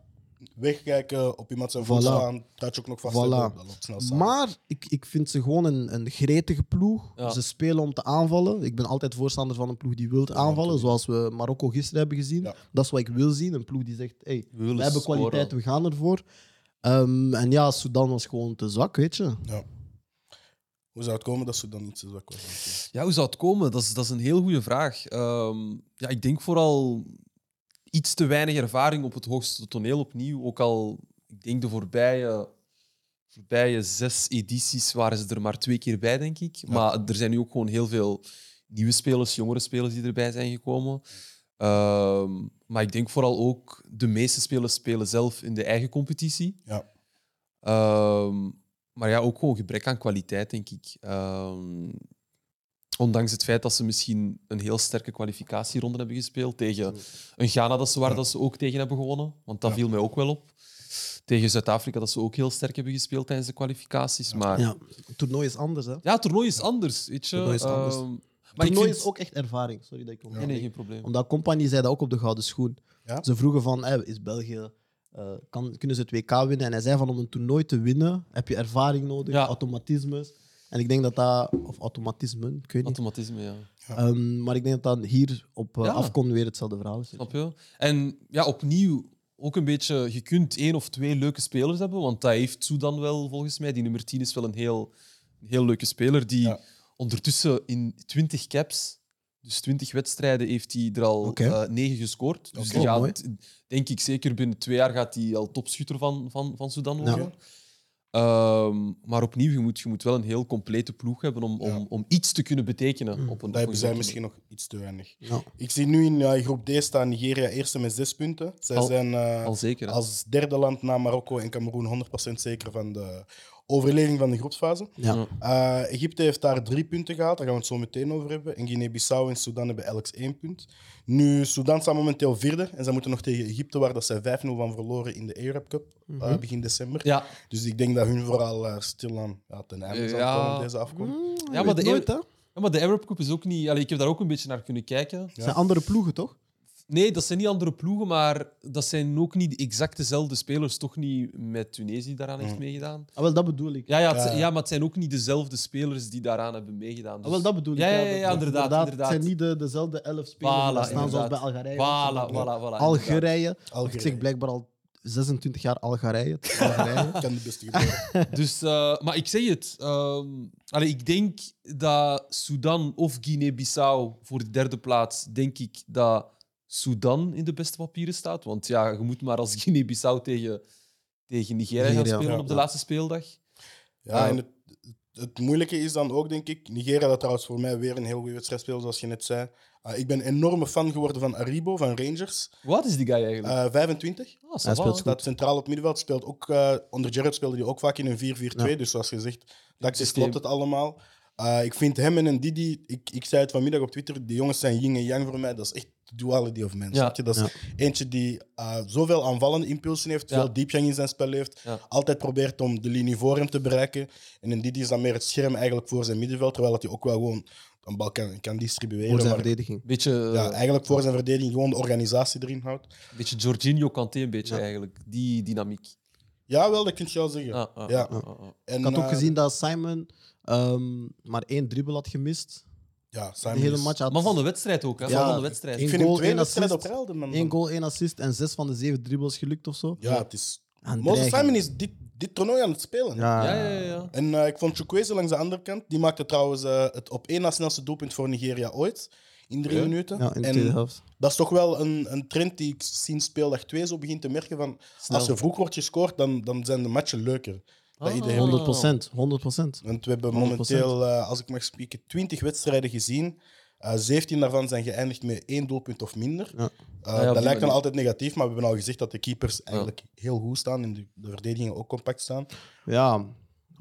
Speaker 2: wegkijken, op iemand zijn
Speaker 1: Voilà.
Speaker 2: voet slaan, touch ook nog vast.
Speaker 1: Voilà.
Speaker 2: hebben, Dat loopt snel samen.
Speaker 1: Maar ik, ik vind ze gewoon een, een gretige ploeg.
Speaker 3: Ja.
Speaker 1: Ze spelen om te aanvallen. Ik ben altijd voorstander van een ploeg die wil aanvallen, zoals we Marokko gisteren hebben gezien.
Speaker 2: Ja.
Speaker 1: Dat is wat ik wil zien. Een ploeg die zegt, hey,
Speaker 3: We willen
Speaker 1: we hebben
Speaker 3: scoren.
Speaker 1: kwaliteit, we gaan ervoor. Ehm, en ja, Sudan was gewoon te zwak, weet je.
Speaker 2: Ja. Hoe zou het komen dat ze dan niet zo zwak was?
Speaker 3: Ja, hoe zou het komen? Dat is, dat is een heel goede vraag. Ehm, ja, ik denk vooral iets te weinig ervaring op het hoogste toneel opnieuw. Ook al, ik denk de voorbije, voorbije zes edities waren ze er maar twee keer bij, denk ik. Maar er zijn nu ook gewoon heel veel nieuwe spelers, jongere spelers die erbij zijn gekomen. Ehm, maar ik denk vooral ook de meeste spelers spelen zelf in de eigen competitie.
Speaker 2: Ja.
Speaker 3: Ehm, maar ja, ook gewoon gebrek aan kwaliteit, denk ik. Ehm, ondanks het feit dat ze misschien een heel sterke kwalificatieronde hebben gespeeld tegen een Ghana dat ze waren, dat ze ook tegen hebben gewonnen. Want dat
Speaker 2: Ja.
Speaker 3: viel mij ook wel op. Tegen Zuid-Afrika dat ze ook heel sterk hebben gespeeld tijdens de kwalificaties. Maar ja,
Speaker 1: Ja, het toernooi is anders, hè. Het
Speaker 3: het toernooi is anders, weet je.
Speaker 1: Toernooi is anders.
Speaker 3: Ehm, maar ik
Speaker 1: toernooi
Speaker 3: vind-
Speaker 1: is ook echt ervaring. Sorry dat ik
Speaker 3: Nee,
Speaker 1: onderbreek.
Speaker 3: nee, geen probleem.
Speaker 1: Omdat Compagnie zei dat ook op de gouden schoen.
Speaker 2: Ja.
Speaker 1: Ze vroegen van, hey, is België, eh, kan, kunnen ze het WK winnen? En hij zei van, om een toernooi te winnen heb je ervaring nodig,
Speaker 3: Ja.
Speaker 1: automatismes. En ik denk dat dat, of automatismen, ik weet niet.
Speaker 3: Automatisme, ja.
Speaker 1: Ehm, maar ik denk dat dat hier op eh,
Speaker 3: Ja.
Speaker 1: Afcon weer hetzelfde verhaal is.
Speaker 3: Snap je? En ja, opnieuw ook een beetje, je kunt één of twee leuke spelers hebben, want dat heeft Sudan wel volgens mij. Die nummer 10 is wel een heel, een heel leuke speler die
Speaker 2: Ja.
Speaker 3: ondertussen in 20 caps, dus 20 wedstrijden, heeft hij er al
Speaker 1: Oké.
Speaker 3: eh 9 gescoord. Dus
Speaker 1: Oké,
Speaker 3: die gaat,
Speaker 1: mooi.
Speaker 3: denk ik zeker binnen twee jaar gaat hij al topschutter van, van, van Sudan
Speaker 1: Ja.
Speaker 3: worden. Ehm, maar opnieuw, je moet, je moet wel een heel complete ploeg hebben om, om,
Speaker 2: Ja.
Speaker 3: om iets te kunnen betekenen. Op een, op een
Speaker 2: Dat hebben zij
Speaker 3: grote-
Speaker 2: misschien nog iets te weinig.
Speaker 1: Ja.
Speaker 2: Ik zie nu in eh, groep D staan Nigeria eerste met zes punten. Zij
Speaker 3: Al-
Speaker 2: zijn eh,
Speaker 3: Al zeker. hè?
Speaker 2: als derde land na Marokko en Cameroen 100% zeker van de overleving van de groepsfase.
Speaker 1: Ja.
Speaker 3: Ja.
Speaker 2: Eh, Egypte heeft daar drie punten gehaald, daar gaan we het zo meteen over hebben. En Guinea-Bissau en Sudan hebben elk één punt. Nu, Sudan staat momenteel vierde en zij moeten nog tegen Egypte, waar dat zij 5-0 van verloren in de Arab Cup eh, begin december.
Speaker 3: Ja.
Speaker 2: Dus ik denk dat hun vooral eh, stilaan ja, ten einde zal
Speaker 3: Ja.
Speaker 2: komen op deze afkomst.
Speaker 3: Ja, maar de
Speaker 1: nooit, hè?
Speaker 3: Ja, maar de Arab Cup is ook niet. allee, ik heb daar ook een beetje naar kunnen kijken.
Speaker 1: Het zijn andere ploegen, toch?
Speaker 3: Nee, dat zijn niet andere ploegen, maar dat zijn ook niet exact dezelfde spelers. Toch niet met Tunesië daaraan heeft
Speaker 2: Mm.
Speaker 3: meegedaan.
Speaker 1: Ah, wel, dat bedoel ik.
Speaker 3: Ja, ja, het-
Speaker 2: Ja.
Speaker 3: ja, maar het zijn ook niet dezelfde spelers die daaraan hebben meegedaan.
Speaker 1: Ah,
Speaker 3: Dus...
Speaker 1: wel, dat bedoel
Speaker 3: Ja,
Speaker 1: ik.
Speaker 3: ja, ja,
Speaker 1: dat-
Speaker 3: ja,
Speaker 1: dat-
Speaker 3: inderdaad,
Speaker 1: Het
Speaker 3: inderdaad.
Speaker 1: zijn niet de, dezelfde elf spelers
Speaker 3: Voilà,
Speaker 1: die daar staan zoals bij
Speaker 3: inderdaad.
Speaker 1: Algerije.
Speaker 3: Voilà, voilà, voilà. inderdaad.
Speaker 1: Algerije. Ik
Speaker 2: Algerije.
Speaker 1: zeg blijkbaar al 26 jaar Algerije. Het is Algerije.
Speaker 2: kan de beste gebeuren.
Speaker 3: Dus, eh, maar ik zeg het. ehm, allee, ik denk dat Sudan of Guinea-Bissau voor de derde plaats, denk ik dat Sudan in de beste papieren staat. Want ja, je moet maar als Guinea-Bissau tegen, tegen Nigeria gaan
Speaker 1: Nigeria,
Speaker 3: spelen
Speaker 2: ja.
Speaker 3: op de laatste speeldag.
Speaker 2: Ja, en het, het moeilijke is dan ook, denk ik, Nigeria dat trouwens voor mij weer een heel goede wedstrijd speelt, zoals je net zei. Ah, ik ben een enorme fan geworden van Aribo, van Rangers.
Speaker 3: Wat is die guy eigenlijk?
Speaker 2: Eh 25.
Speaker 3: Ah, ça
Speaker 1: hij
Speaker 3: va.
Speaker 1: speelt goed.
Speaker 2: Staat centraal op middenveld. Speelt ook, eh, onder Gerrard speelde hij ook vaak in een 4-4-2.
Speaker 1: Ja.
Speaker 2: Dus zoals gezegd, tactisch
Speaker 3: Systeem.
Speaker 2: klopt het allemaal. Eh, ik vind hem en een Didi, ik, ik zei het vanmiddag op Twitter, die jongens zijn yin en yang voor mij. Dat is echt duality of mensen.
Speaker 3: Ja.
Speaker 2: snap je? Dat is eentje die eh, zoveel aanvallende impulsen heeft,
Speaker 3: Ja.
Speaker 2: veel diepgang in zijn spel heeft,
Speaker 3: Ja.
Speaker 2: altijd probeert om de linie voor hem te bereiken. En een Didi is dan meer het scherm eigenlijk voor zijn middenveld, terwijl dat hij ook wel gewoon een bal kan, kan distribueren.
Speaker 1: Voor zijn
Speaker 2: maar-
Speaker 1: verdediging.
Speaker 3: Beetje,
Speaker 2: ja, eigenlijk voor zijn verdediging gewoon de organisatie erin houdt.
Speaker 3: beetje Jorginho Kanté, een beetje eigenlijk. Die dynamiek.
Speaker 2: Ja, wel, dat kun je wel zeggen.
Speaker 3: Ah, ah,
Speaker 2: Ja.
Speaker 3: ah, ah, ah.
Speaker 2: En,
Speaker 1: Ik had ook
Speaker 2: eh,
Speaker 1: gezien dat Simon ehm, maar één dribbel had gemist.
Speaker 2: Ja,
Speaker 1: De
Speaker 2: Simon
Speaker 1: hele
Speaker 2: is-
Speaker 1: match had
Speaker 3: Maar van de wedstrijd ook, hè?
Speaker 1: Ja,
Speaker 3: van de wedstrijd.
Speaker 1: één
Speaker 2: Ik vind hem
Speaker 1: goal,
Speaker 2: twee
Speaker 1: één
Speaker 2: wedstrijden op
Speaker 1: assist.
Speaker 2: rij, de man.
Speaker 1: één goal, één assist en zes van de zeven dribbles gelukt of zo.
Speaker 2: Ja, het is...
Speaker 1: Aan
Speaker 2: Moses
Speaker 1: dreigen.
Speaker 2: Simon is dit, dit toernooi aan het spelen.
Speaker 1: Ja,
Speaker 3: Ja, ja, ja. ja.
Speaker 2: En eh, ik vond Chukwueze langs de andere kant. Die maakte trouwens eh, het op één na snelste doelpunt voor Nigeria ooit. In drie
Speaker 3: Ja.
Speaker 2: minuten.
Speaker 1: Ja, in de tweede
Speaker 2: en
Speaker 1: helft.
Speaker 2: dat is toch wel een, een trend die ik sinds speeldag 2 zo begin te merken. Van, als er vroeg wordt gescoord, dan, dan zijn de matchen leuker. Dat
Speaker 3: Ah.
Speaker 2: iedereen...
Speaker 1: 100 procent, 100 procent.
Speaker 2: Want we hebben
Speaker 1: 100%.
Speaker 2: momenteel, eh, als ik mag spreken, 20 wedstrijden gezien. Eh 17 daarvan zijn geëindigd met één doelpunt of minder.
Speaker 1: Ja.
Speaker 2: Eh,
Speaker 3: ja, op
Speaker 2: dat lijkt
Speaker 3: die
Speaker 2: dan
Speaker 3: manier.
Speaker 2: altijd negatief, maar we hebben al gezegd dat de keepers eigenlijk heel goed staan en de, de verdedigingen ook compact staan.
Speaker 1: Ja,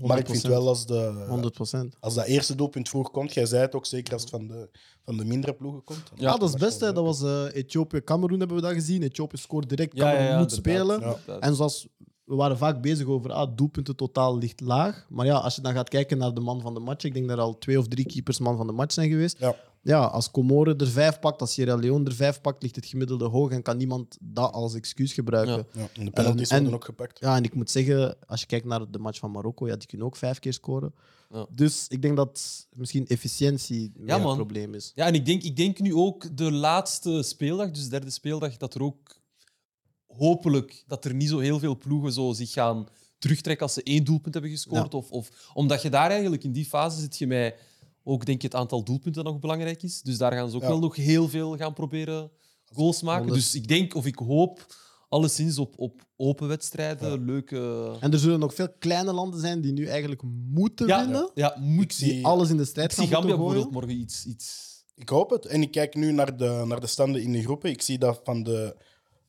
Speaker 1: 100%.
Speaker 2: Maar ik vind wel als, de,
Speaker 1: 100 procent.
Speaker 2: als dat eerste doelpunt vroeg komt, jij zei het ook zeker als het van de, van de mindere ploegen komt.
Speaker 1: Ja, Ah, dat is best. Hè. Dat was eh, Ethiopië, Cameroen hebben we dat gezien. Ethiopië scoort direct,
Speaker 3: Ja, ja,
Speaker 1: Cameroen
Speaker 3: ja,
Speaker 1: moet
Speaker 3: inderdaad.
Speaker 1: spelen.
Speaker 2: Ja.
Speaker 3: Inderdaad.
Speaker 1: En zoals we waren vaak bezig over ah, doelpunten totaal ligt laag. Maar ja, als je dan gaat kijken naar de man van de match, ik denk dat er al twee of drie keepers man van de match zijn geweest.
Speaker 2: Ja.
Speaker 1: Ja, als Comoren er vijf pakt, als Sierra Leone er vijf pakt, ligt het gemiddelde hoog en kan niemand dat als excuus gebruiken.
Speaker 3: Ja.
Speaker 1: Ja.
Speaker 2: Ja, en de penalties
Speaker 1: En-
Speaker 2: worden
Speaker 1: en-
Speaker 2: ook gepakt.
Speaker 1: en ik moet zeggen, als je kijkt naar de match van Marokko, ja, die kunnen ook vijf keer scoren.
Speaker 3: Ja.
Speaker 1: Dus ik denk dat misschien efficiëntie meer
Speaker 3: man.
Speaker 1: het probleem is.
Speaker 3: Ja, en ik denk, ik denk nu ook de laatste speeldag, dus de derde speeldag, dat er ook hopelijk dat er niet zo heel veel ploegen zo zich gaan terugtrekken als ze één doelpunt hebben gescoord. Of, of, omdat je daar eigenlijk in die fase zit je mij ook denk je het aantal doelpunten dat nog belangrijk is. Dus daar gaan ze ook
Speaker 2: Ja.
Speaker 3: wel nog heel veel gaan proberen goals maken.
Speaker 1: Honderd.
Speaker 3: Dus ik denk of ik hoop alleszins op, op open wedstrijden, leuke.
Speaker 1: En er zullen nog veel kleine landen zijn die nu eigenlijk moeten
Speaker 3: Ja,
Speaker 1: winnen.
Speaker 3: ja, moet
Speaker 2: zie-
Speaker 1: Die alles in de strijd
Speaker 3: Ik zie
Speaker 1: gaan
Speaker 3: Gambia
Speaker 1: moeten gooien.
Speaker 3: bijvoorbeeld morgen iets. iets
Speaker 2: Ik hoop het. En ik kijk nu naar de, naar de standen in de groepen. Ik zie dat van de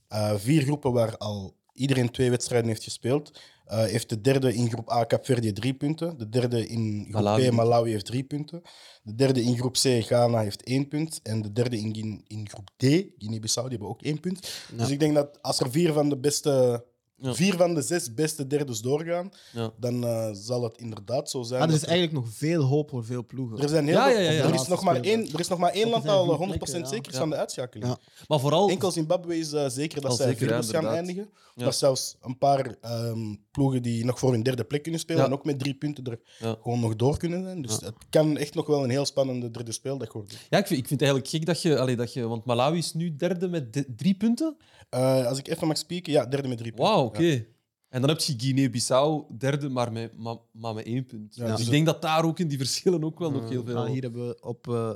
Speaker 2: eh, vier groepen waar al iedereen twee wedstrijden heeft gespeeld, eh, heeft de derde in groep A Capverdië drie punten. De derde in groep
Speaker 3: Malawi.
Speaker 2: B Malawi heeft drie punten. De derde in groep C Ghana heeft één punt. En de derde in, Guin- in groep D, Guinea-Bissau, die hebben ook één punt. Dus ik denk dat als er vier van de beste...
Speaker 3: Ja.
Speaker 2: Vier van de zes beste derdes doorgaan,
Speaker 3: Ja.
Speaker 2: dan eh, zal het inderdaad zo zijn.
Speaker 1: Ah, er
Speaker 2: dat
Speaker 1: is eigenlijk nog veel hoop voor veel ploegen.
Speaker 2: er zijn heel
Speaker 3: Ja,
Speaker 2: veel-
Speaker 3: ja, ja, ja.
Speaker 2: Er, is nog maar één, er is nog maar één
Speaker 1: Want
Speaker 2: land
Speaker 1: er
Speaker 2: dat
Speaker 1: zijn
Speaker 2: al
Speaker 1: vier
Speaker 2: 100%
Speaker 1: plekken, ja.
Speaker 2: zeker is van de uitschakeling.
Speaker 1: Ja.
Speaker 3: maar vooral
Speaker 2: Enkel Zimbabwe is eh, zeker dat
Speaker 3: Al
Speaker 2: zij
Speaker 3: zeker,
Speaker 2: vierde
Speaker 3: ja,
Speaker 2: gaan
Speaker 3: inderdaad.
Speaker 2: eindigen.
Speaker 3: Ja.
Speaker 2: Maar zelfs een paar ehm, ploegen die nog voor hun derde plek kunnen spelen
Speaker 3: Ja.
Speaker 2: en ook met drie punten er
Speaker 3: Ja.
Speaker 2: gewoon nog door kunnen zijn. Dus het kan echt nog wel een heel spannende derde speeldag worden.
Speaker 3: Ja, ik vind, ik vind het eigenlijk gek dat je, allee, dat je... Want Malawi is nu derde met de- drie punten.
Speaker 2: Eh, als ik even mag spreken, ja, derde met drie punten.
Speaker 3: Wauw, oké.
Speaker 2: Ja.
Speaker 3: En dan heb je Guinea-Bissau derde, maar met, maar, maar met één punt.
Speaker 2: Ja,
Speaker 3: dus
Speaker 2: dus
Speaker 3: ik denk dat daar ook in die verschillen ook wel nog
Speaker 1: Eh,
Speaker 3: heel veel...
Speaker 1: maar hier hebben we op, eh,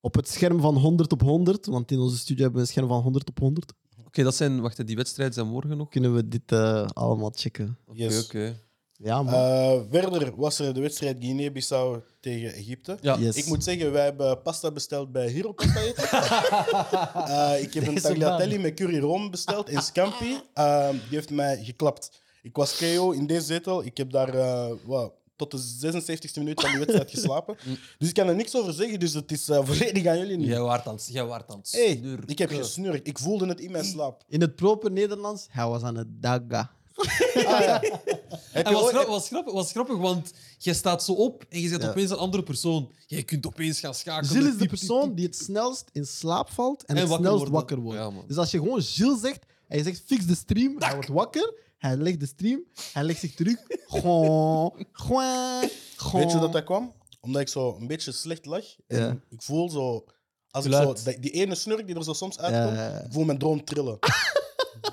Speaker 1: op het scherm van 100 op 100, want in onze studio hebben we een scherm van 100 op 100,
Speaker 3: Oké, dat zijn... Wacht, hè, die wedstrijden zijn morgen nog.
Speaker 1: kunnen we dit eh, allemaal checken.
Speaker 3: Oké,
Speaker 2: Yes.
Speaker 3: oké.
Speaker 1: Ja, man.
Speaker 2: Eh, verder was er de wedstrijd Guinea-Bissau tegen Egypte.
Speaker 3: Ja.
Speaker 1: Yes.
Speaker 2: Ik moet zeggen, wij hebben pasta besteld bij Hero Pasta Eten. Eh, ik heb een
Speaker 1: Deze
Speaker 2: tagliatelle met curry room besteld in Scampi. Eh, die heeft mij geklapt. Ik was KO in deze zetel. Ik heb daar eh, wauw, tot de 76e minuut van de wedstrijd geslapen. Dus ik kan er niks over zeggen, dus het is eh, volledig aan jullie nu.
Speaker 3: Jij waart aan het- jij waart aan het
Speaker 2: Hey,
Speaker 3: snurken.
Speaker 2: ik heb gesnurkt. Ik voelde het in mijn slaap.
Speaker 1: In het proper Nederlands, hij was aan het dagga.
Speaker 2: Heb
Speaker 3: En
Speaker 2: je
Speaker 3: was,
Speaker 2: ooit-
Speaker 3: grap, was, grap, was grappig, want jij staat zo op en je bent
Speaker 1: Ja.
Speaker 3: opeens een andere persoon. Jij kunt opeens gaan schakelen.
Speaker 1: Gilles is de
Speaker 3: Piep, piep,
Speaker 1: persoon
Speaker 3: piep.
Speaker 1: die het snelst in slaap valt en,
Speaker 3: En
Speaker 1: het
Speaker 3: wakker
Speaker 1: snelst
Speaker 3: worden.
Speaker 1: wakker wordt.
Speaker 3: Ja, man.
Speaker 1: dus als je gewoon Gilles zegt, hij zegt fix de stream, hij wordt wakker, hij legt de stream, hij legt zich terug. Gewoon, gewoon, gewoon.
Speaker 2: Weet je dat dat kwam? Omdat ik zo een beetje slecht lag. En
Speaker 1: Ja.
Speaker 2: ik voel zo... Als ik zo,
Speaker 3: Geluid.
Speaker 2: die, die ene snurk die er zo soms
Speaker 1: Ja,
Speaker 2: uitkomt,
Speaker 1: ja, ja.
Speaker 2: ik voel mijn droom trillen.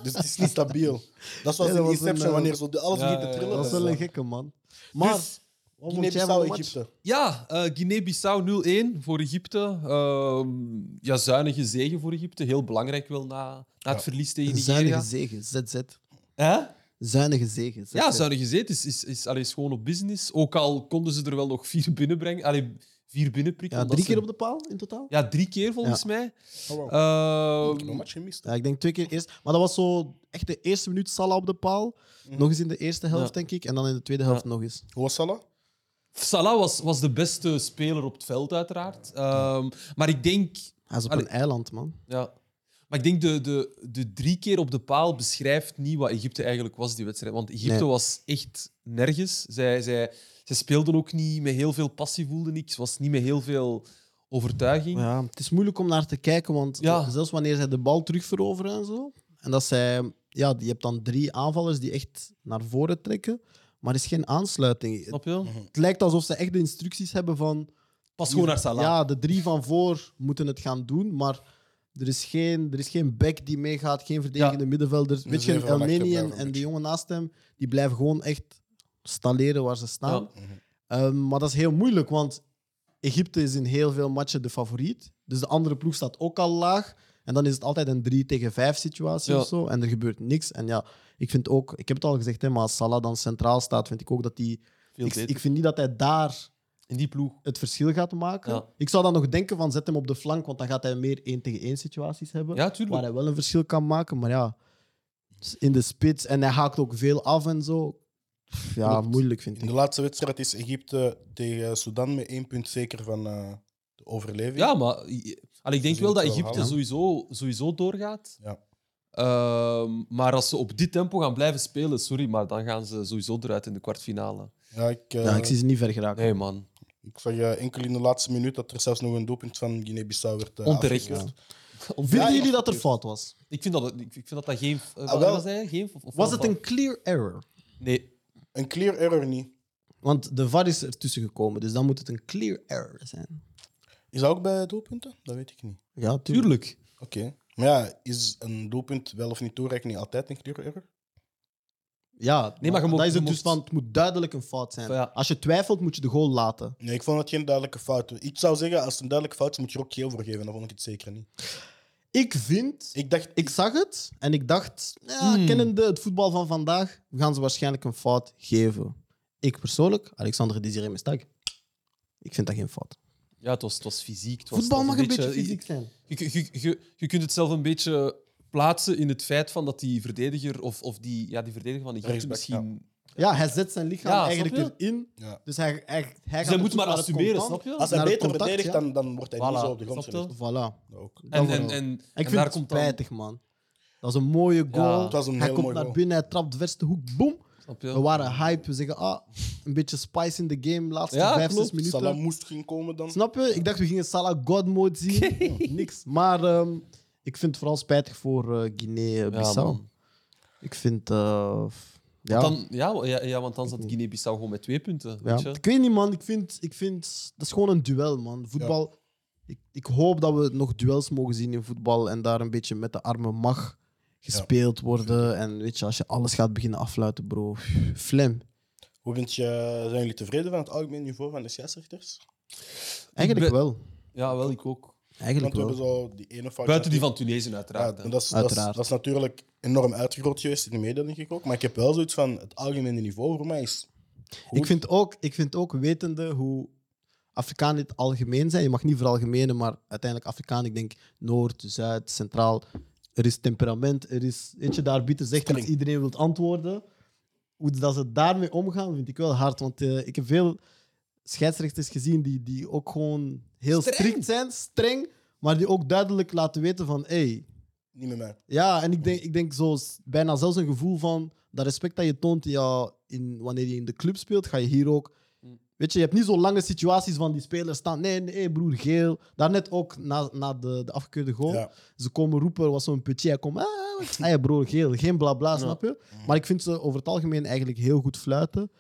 Speaker 2: dus het is niet stabiel. Dat is
Speaker 1: Nee,
Speaker 2: zoals
Speaker 1: dat
Speaker 2: in
Speaker 1: was
Speaker 2: Inception,
Speaker 1: een, eh,
Speaker 2: wanneer zo de, alles
Speaker 3: Ja,
Speaker 2: begint te
Speaker 3: ja, ja.
Speaker 2: trillen.
Speaker 1: Dat is
Speaker 2: Dus,
Speaker 1: wel
Speaker 2: eh,
Speaker 1: een gekke man. Maar,
Speaker 2: dus,
Speaker 1: wat vond jij van
Speaker 2: Guinea-Bissau,
Speaker 1: de match?
Speaker 2: Egypte.
Speaker 3: Ja, eh Guinea-Bissau 0-1 voor Egypte. Ehm, ja, zuinige zegen voor Egypte. Heel belangrijk wel na, na het
Speaker 2: Ja.
Speaker 3: verlies tegen
Speaker 1: Zuinige
Speaker 3: Nigeria.
Speaker 1: zegen, ZZ.
Speaker 3: Hè?
Speaker 1: Zuinige zegen. ZZ.
Speaker 3: Ja, zuinige zegen is, is, is, allee, is gewoon op business. Ook al konden ze er wel nog vier binnenbrengen. Allee, vier binnenprikken.
Speaker 1: Ja,
Speaker 3: omdat
Speaker 1: drie keer
Speaker 3: ze-
Speaker 1: op de paal in totaal?
Speaker 3: Ja, drie keer volgens mij.
Speaker 2: Oh, wow.
Speaker 3: Ehm,
Speaker 2: Ik heb een match gemist.
Speaker 1: Ja, ik denk twee keer eerst. Maar dat was zo echt de eerste minuut Salah op de paal.
Speaker 2: Mhm.
Speaker 1: Nog eens in de eerste helft,
Speaker 3: Ja.
Speaker 1: denk ik. En dan in de tweede helft nog eens.
Speaker 2: Hoe was Salah?
Speaker 3: Salah was, was de beste speler op het veld, uiteraard. Ehm, maar ik denk...
Speaker 1: Hij is op
Speaker 3: Allee.
Speaker 1: een eiland, man.
Speaker 3: Ja. Maar ik denk de, de, de drie keer op de paal beschrijft niet wat Egypte eigenlijk was, die wedstrijd. Want Egypte
Speaker 1: Nee.
Speaker 3: was echt nergens. Zij, zij, zij speelden ook niet met heel veel passie, voelde niks. Was niet met heel veel overtuiging.
Speaker 1: Ja, het is moeilijk om naar te kijken, want
Speaker 3: Ja.
Speaker 1: zelfs wanneer zij de bal terugveroveren en zo. En dat zij, ja, je hebt dan drie aanvallers die echt naar voren trekken, maar er is geen aansluiting. Het,
Speaker 3: Snap je wel?
Speaker 1: het lijkt alsof ze echt de instructies hebben van.
Speaker 3: Pas gewoon naar Salah.
Speaker 1: Ja, de drie van voor moeten het gaan doen, maar er is geen, er is geen back die meegaat, geen verdedigende middenvelder. Weet je,
Speaker 2: even van achter
Speaker 1: Elmeni en,
Speaker 2: Dus blijven,
Speaker 1: en
Speaker 2: weet
Speaker 1: die
Speaker 2: je.
Speaker 1: jongen naast hem, die blijven gewoon echt stalleren waar ze staan.
Speaker 3: Ja.
Speaker 1: Ehm, maar dat is heel moeilijk, want Egypte is in heel veel matchen de favoriet. Dus de andere ploeg staat ook al laag. En dan is het altijd een 3 tegen 5 situatie
Speaker 3: Ja.
Speaker 1: of zo. En er gebeurt niks. En ja, ik vind ook, ik heb het al gezegd, hè, maar als Salah dan centraal staat, vind ik ook dat hij.
Speaker 3: Veel
Speaker 1: Ik,
Speaker 3: beter.
Speaker 1: ik vind niet dat hij daar
Speaker 3: In die ploeg.
Speaker 1: het verschil gaat maken.
Speaker 3: Ja.
Speaker 1: Ik zou dan nog denken van zet hem op de flank, want dan gaat hij meer 1 tegen 1 situaties hebben.
Speaker 3: Ja,
Speaker 1: waar
Speaker 3: tuurlijk.
Speaker 1: hij wel een verschil kan maken. Maar ja, in de spits. En hij haakt ook veel af en zo. Pff, Ja,
Speaker 3: Klopt.
Speaker 1: moeilijk vind
Speaker 2: In de
Speaker 1: ik.
Speaker 2: laatste wedstrijd is Egypte tegen Sudan met één punt zeker van eh, de overleving.
Speaker 3: Ja, maar allee, ik denk
Speaker 2: zullen
Speaker 3: wel dat
Speaker 2: het wel
Speaker 3: Egypte
Speaker 2: halen.
Speaker 3: sowieso, sowieso doorgaat.
Speaker 2: Ja.
Speaker 3: Ehm, maar als ze op dit tempo gaan blijven spelen, sorry, maar dan gaan ze sowieso eruit in de kwartfinale.
Speaker 2: Ja, ik, eh,
Speaker 1: Ja, ik
Speaker 2: ik,
Speaker 1: zie ze niet ver geraken.
Speaker 3: Nee, man.
Speaker 2: zag eh, enkel in de laatste minuut dat er zelfs nog een doelpunt van Guinea-Bissau werd eh,
Speaker 3: Onterecht.
Speaker 2: afgekeurd.
Speaker 1: Vinden
Speaker 2: Ja,
Speaker 1: jullie
Speaker 2: ja.
Speaker 1: dat er fout was?
Speaker 3: Ik vind dat, ik ik vind dat, dat geen. eh, wat
Speaker 2: wel.
Speaker 3: was hij? Geen, of- of
Speaker 1: Ah, Was het
Speaker 3: wel-
Speaker 1: een clear error?
Speaker 3: Nee,
Speaker 2: Een clear error niet.
Speaker 1: Want de VAR is ertussen gekomen, dus dan moet het een clear error zijn.
Speaker 2: Is dat ook bij doelpunten? Dat weet ik niet.
Speaker 1: Ja, tuurlijk.
Speaker 3: tuurlijk.
Speaker 2: Oké. Maar ja, is een doelpunt wel of niet toereikend niet altijd een clear error?
Speaker 1: Ja,
Speaker 3: Nee, maar je
Speaker 1: dat
Speaker 3: mocht-
Speaker 1: is
Speaker 3: je
Speaker 1: het dus
Speaker 3: mocht-
Speaker 1: van, het moet duidelijk een fout zijn.
Speaker 3: Ja.
Speaker 1: Als je twijfelt, moet je de goal laten.
Speaker 2: Nee, ik vond het geen duidelijke fout. Ik zou zeggen, als het een duidelijke fout is, moet je er ook geel voor geven. Dat vond ik het zeker niet.
Speaker 1: Ik vind...
Speaker 2: Ik dacht,
Speaker 1: Ik zag het en ik dacht, ja,
Speaker 3: Hmm.
Speaker 1: kennende het voetbal van vandaag, we gaan ze waarschijnlijk een fout geven. Ik persoonlijk, Alexander Desiré Mestak, ik vind dat geen fout.
Speaker 3: Ja, het was, het was fysiek. Het was,
Speaker 1: Voetbal
Speaker 3: het
Speaker 1: mag
Speaker 3: was
Speaker 1: een beetje fysiek zijn.
Speaker 3: Je, je, je- je, je kunt het zelf een beetje plaatsen in het feit van dat die verdediger of, of die, ja, die verdediger van Egypte
Speaker 2: Rechtsback, ja.
Speaker 3: misschien.
Speaker 1: Ja, hij zet zijn lichaam
Speaker 3: Ja, snap
Speaker 1: eigenlijk erin.
Speaker 2: Ja.
Speaker 1: Dus hij, hij, hij gaat
Speaker 3: Dus hij
Speaker 1: op
Speaker 3: moet
Speaker 1: zoek
Speaker 3: maar
Speaker 1: naar het
Speaker 3: assumeren,
Speaker 1: contant.
Speaker 3: snap je?
Speaker 2: als hij
Speaker 1: naar het
Speaker 2: beter
Speaker 1: contact,
Speaker 2: verdedigt,
Speaker 1: ja.
Speaker 2: dan, dan wordt hij
Speaker 3: Voilà.
Speaker 2: niet zo op de grond
Speaker 3: Snap je?
Speaker 2: gelegd.
Speaker 1: Voilà.
Speaker 2: Dat ook.
Speaker 3: En,
Speaker 1: vooral.
Speaker 3: en, en,
Speaker 1: Ik
Speaker 3: en
Speaker 1: vind
Speaker 3: daar
Speaker 1: het
Speaker 3: komt dan.
Speaker 1: spijtig, man. Dat was een mooie goal.
Speaker 3: Ja, het
Speaker 2: was een
Speaker 1: hij
Speaker 2: heel
Speaker 1: komt
Speaker 2: mooi
Speaker 1: naar
Speaker 2: goal.
Speaker 1: binnen, hij trapt de verste hoek, boom.
Speaker 3: Snap
Speaker 1: We
Speaker 3: je?
Speaker 1: waren hype. We zeggen, ah, een beetje spice in de game, laatste
Speaker 3: Ja,
Speaker 1: vijf,
Speaker 3: klopt.
Speaker 1: zes minuten.
Speaker 2: Salah moest ging komen dan.
Speaker 1: Snap je? Ik dacht, we gingen Salah God mode zien. Ja, Niks. Maar ehm, ik vind het vooral spijtig voor eh,
Speaker 3: Ja,
Speaker 1: Guinea-Bissau.
Speaker 3: man.
Speaker 1: ik vind... eh, f- ja,
Speaker 3: Dan, ja, wa- ja, ja, want dan zat Guinea-Bissau gewoon met twee punten.
Speaker 1: ja.
Speaker 3: Weet je?
Speaker 1: Ik weet niet, man. Ik vind, ik vind... Dat is gewoon een duel, man. Voetbal... Ik, ik hoop dat we nog duels mogen zien in voetbal en daar een beetje met de armen mag gespeeld worden. En weet je, als je alles gaat beginnen afluiten, bro. Flem.
Speaker 2: Hoe vind je, zijn jullie tevreden van het algemeen niveau van de scheidsrechters?
Speaker 1: Eigenlijk
Speaker 3: ben-
Speaker 1: wel.
Speaker 3: Ja, wel, ik ook.
Speaker 1: Eigenlijk
Speaker 2: Want we hebben
Speaker 1: wel.
Speaker 2: zo die ene fout.
Speaker 3: Buiten die van Tunesië,
Speaker 2: Ja,
Speaker 3: uiteraard. hè.
Speaker 2: en dat, is, dat, is,
Speaker 1: Uiteraard.
Speaker 2: dat is natuurlijk enorm uitgegroot geweest in de media, denk ik ook. Maar ik heb wel zoiets van het algemene niveau voor mij is. goed.
Speaker 1: Ik vind, ook, ik vind ook, wetende hoe Afrikanen in het algemeen zijn, je mag niet veralgemenen, maar uiteindelijk Afrikaan, ik denk Noord, Zuid, Centraal. Er is temperament, er is, weet je, daar biedt zegt dat
Speaker 2: Streng.
Speaker 1: iedereen wilt antwoorden. Hoe dat ze daarmee omgaan, vind ik wel hard, want eh, ik heb veel scheidsrechters gezien die, die ook gewoon heel
Speaker 3: Streng.
Speaker 1: strikt zijn, streng, maar die ook duidelijk laten weten van, hey,
Speaker 2: Niet met mij.
Speaker 1: ja, en ik denk, ik denk zo s- bijna zelfs een gevoel van dat respect dat je toont ja, in, wanneer je in de club speelt, ga je hier ook. Weet je, je hebt niet zo lange situaties van die spelers staan. Nee, nee, broer, geel. Daarnet ook na, na de, de afgekeurde goal.
Speaker 2: Ja.
Speaker 1: Ze komen roepen, er was zo'n putje. Hij komt, ah, wat- hey, broer, geel. Geen blabla, snap je? Maar ik vind ze over het algemeen eigenlijk heel goed fluiten.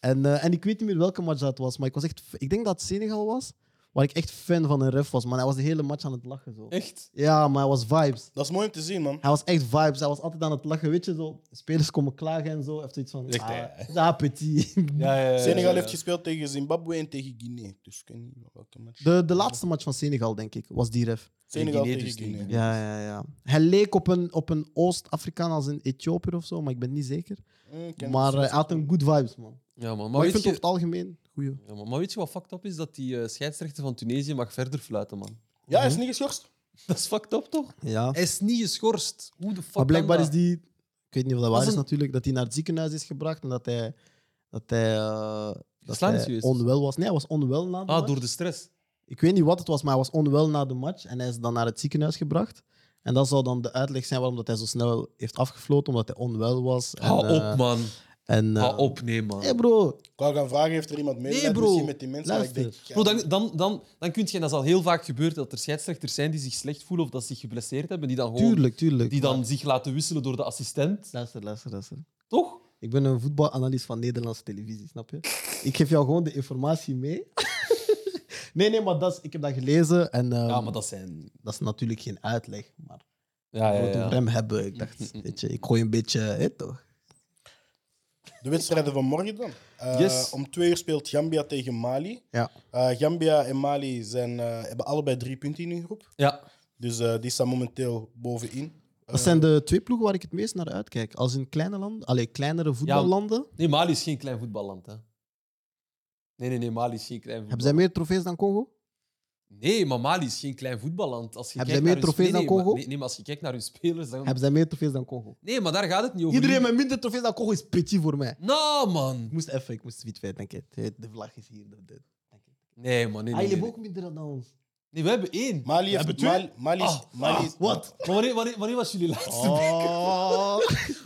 Speaker 1: En, eh, en ik weet niet meer welke match dat was, maar ik was echt... f- Ik denk dat het Senegal was, waar ik echt fan van een ref was. Man, hij was de hele match aan het lachen. Zo.
Speaker 3: Echt?
Speaker 1: Ja, maar hij was vibes.
Speaker 2: Dat is mooi om te zien, man.
Speaker 1: Hij was echt vibes. Hij was altijd aan het lachen, weet je, zo. Spelers komen klagen en zo. Even iets van,
Speaker 3: Echt,
Speaker 1: ah,
Speaker 3: hè?
Speaker 1: ja, petit.
Speaker 3: Ja, ja, ja, ja,
Speaker 1: Eh,
Speaker 2: Senegal
Speaker 3: ja.
Speaker 2: heeft gespeeld tegen Zimbabwe en tegen Guinea. Dus ik weet niet welke match.
Speaker 1: De, de laatste match van Senegal, denk ik, was die ref.
Speaker 2: Senegal
Speaker 3: Guinea
Speaker 2: tegen
Speaker 3: dus
Speaker 2: Guinea.
Speaker 3: tegen-
Speaker 1: Ja, ja, ja. Hij leek op een, op een Oost-Afrikaan als een Ethiopiër of zo, maar ik ben niet zeker.
Speaker 2: Mm, ik ken
Speaker 1: maar
Speaker 2: het.
Speaker 1: eh, hij had een good vibes, man. Maar,
Speaker 3: Ja, man. Maar,
Speaker 1: ik
Speaker 3: weet
Speaker 1: vind
Speaker 3: je...
Speaker 1: over het algemeen goeie.
Speaker 3: ja, man. maar weet je wat fucked up is? Dat die eh, scheidsrechter van Tunesië mag verder fluiten, man.
Speaker 1: eh,
Speaker 2: Ja, hij is niet geschorst.
Speaker 3: Dat is fucked up, toch?
Speaker 1: Ja.
Speaker 3: Hij is niet geschorst. Hoe de fuck
Speaker 1: Maar blijkbaar
Speaker 3: kan
Speaker 1: is
Speaker 3: dat?
Speaker 1: die... Ik weet niet of dat waar
Speaker 3: is
Speaker 1: is
Speaker 3: een-
Speaker 1: natuurlijk, dat hij naar het ziekenhuis is gebracht en dat hij... Dat hij, eh, dat
Speaker 3: Geslagen is
Speaker 1: hij
Speaker 3: geweest?
Speaker 1: onwel was. Nee, hij was onwel na de
Speaker 3: Ah,
Speaker 1: match.
Speaker 3: door de stress.
Speaker 1: Ik weet niet wat het was, maar hij was onwel na de match en hij is dan naar het ziekenhuis gebracht. En dat zou dan de uitleg zijn waarom dat hij zo snel heeft afgefloten, omdat hij onwel was. En,
Speaker 3: Hou
Speaker 1: eh,
Speaker 3: op, man.
Speaker 1: En,
Speaker 3: Hou
Speaker 1: eh,
Speaker 3: op, nee, man.
Speaker 1: hey bro,
Speaker 2: Ik wou gaan vragen, heeft er iemand medelijden
Speaker 3: Nee, bro.
Speaker 2: misschien met die mensen? Maar ik
Speaker 1: Luister.
Speaker 2: denk, ja,
Speaker 3: Bro, dan, dan, dan, dan kun je, en dat is al heel vaak gebeurd, dat er scheidsrechters zijn die zich slecht voelen of dat ze zich geblesseerd hebben, die dan gewoon
Speaker 1: tuurlijk, tuurlijk.
Speaker 3: die dan zich laten wisselen door de assistent.
Speaker 1: Luister, luister, luister.
Speaker 3: Toch?
Speaker 1: Ik ben een voetbalanalist van Nederlandse televisie, snap je? Ik geef jou gewoon de informatie mee. nee, nee, maar dat is, ik heb dat gelezen en ehm,
Speaker 3: Ja, maar
Speaker 1: dat...
Speaker 3: dat zijn...
Speaker 1: is natuurlijk geen uitleg. Maar
Speaker 3: Ja,
Speaker 1: ik
Speaker 3: ja, Mm,
Speaker 1: moet een
Speaker 3: ja.
Speaker 1: rem hebben. Ik dacht, weet je, ik gooi een beetje, hè, toch?
Speaker 2: De wedstrijden van morgen dan. Eh,
Speaker 3: Yes.
Speaker 2: Om twee uur speelt Gambia tegen Mali.
Speaker 1: Ja.
Speaker 2: Eh, Gambia en Mali zijn, eh, hebben allebei drie punten in hun groep.
Speaker 3: ja.
Speaker 2: Dus eh, die staan momenteel bovenin.
Speaker 1: Dat zijn de twee ploegen waar ik het meest naar uitkijk. Als in kleine landen, allee, kleinere voetballanden,
Speaker 3: Nee, Mali is geen klein voetballand, hè. Nee, nee, nee, Mali is geen klein
Speaker 1: hebben zij
Speaker 3: voetballand.
Speaker 1: meer trofees dan Congo?
Speaker 3: Nee, maar Mali is geen klein voetballand. Als je
Speaker 1: Hebben
Speaker 3: kijkt
Speaker 1: zij
Speaker 3: naar
Speaker 1: meer
Speaker 3: hun-
Speaker 1: trofeeën
Speaker 3: nee,
Speaker 1: dan
Speaker 3: nee,
Speaker 1: Congo?
Speaker 3: maar- Nee, nee, maar als je kijkt naar hun spelers, dan...
Speaker 1: Hebben zij meer trofees dan Congo?
Speaker 3: Nee, maar daar gaat het niet over.
Speaker 1: Iedereen met minder trofees dan Congo is petit voor mij.
Speaker 3: Nou, man.
Speaker 1: Ik moest even, ik moest iets denk ik. De vlag is hier. De, de, denk ik.
Speaker 3: Nee, man, nee,
Speaker 1: Ah, jullie
Speaker 3: nee, nee.
Speaker 1: hebben
Speaker 3: nee.
Speaker 1: ook minder dan ons.
Speaker 3: Nee, we hebben één.
Speaker 2: Mali
Speaker 1: We hebben
Speaker 2: heeft...
Speaker 1: twee.
Speaker 2: Mali, Mali, is-
Speaker 3: Ah,
Speaker 2: Mali is-
Speaker 1: Wat?
Speaker 3: Maar wanneer, wanneer, wanneer was jullie laatste?
Speaker 1: Oh.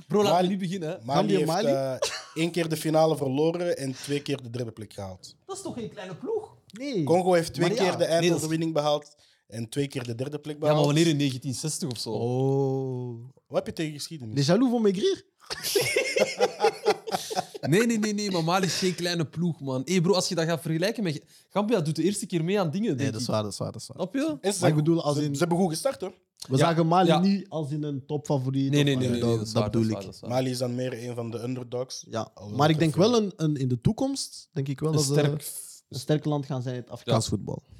Speaker 3: Bro, laat
Speaker 2: Mali-
Speaker 3: me niet beginnen, hè.
Speaker 1: Gambia,
Speaker 2: Mali heeft
Speaker 1: Mali?
Speaker 2: eh, één keer de finale verloren en twee keer de derde plek gehaald.
Speaker 3: Dat is toch geen kleine ploeg?
Speaker 1: Nee.
Speaker 2: Congo heeft twee
Speaker 1: Maar ja,
Speaker 2: keer de
Speaker 3: nee, dat is-
Speaker 2: eindoverwinning behaald en twee keer de derde plek
Speaker 3: Ja,
Speaker 2: behaald.
Speaker 3: maar wanneer in 1960 of zo?
Speaker 1: Oh.
Speaker 2: Wat heb je tegen geschiedenis?
Speaker 1: Les jaloux vont maigrir.
Speaker 3: Nee, nee, nee, nee, maar Mali is geen kleine ploeg, man. Hé, bro, als je dat gaat vergelijken met... Gambia doet de eerste keer mee aan dingen,
Speaker 1: Nee,
Speaker 3: denk
Speaker 1: dat is
Speaker 3: ik.
Speaker 1: waar, dat is waar. Dat is waar.
Speaker 3: Snap je?
Speaker 2: En ze,
Speaker 1: Maar
Speaker 2: zijn
Speaker 1: ik bedoel, als
Speaker 2: ze,
Speaker 1: in-
Speaker 2: ze hebben goed gestart, hoor.
Speaker 1: We
Speaker 3: Ja.
Speaker 1: zagen Mali
Speaker 3: Ja.
Speaker 1: niet als in een topfavoriet.
Speaker 3: Nee,
Speaker 1: of-
Speaker 3: nee, nee, nee, nee,
Speaker 1: dat,
Speaker 3: dat, is waar,
Speaker 1: bedoel
Speaker 3: dat Oh,
Speaker 1: ik.
Speaker 3: is waar, dat is waar.
Speaker 2: Mali is dan meer een van de underdogs.
Speaker 1: Ja.
Speaker 2: Alhoewel
Speaker 1: Maar ik
Speaker 2: dat
Speaker 1: denk
Speaker 2: veel-
Speaker 1: wel een, een, in de toekomst, denk ik wel dat
Speaker 3: Een
Speaker 1: ze
Speaker 3: sterk...
Speaker 1: een sterk land gaan zijn in het Afrikaans voetbal.
Speaker 3: eh,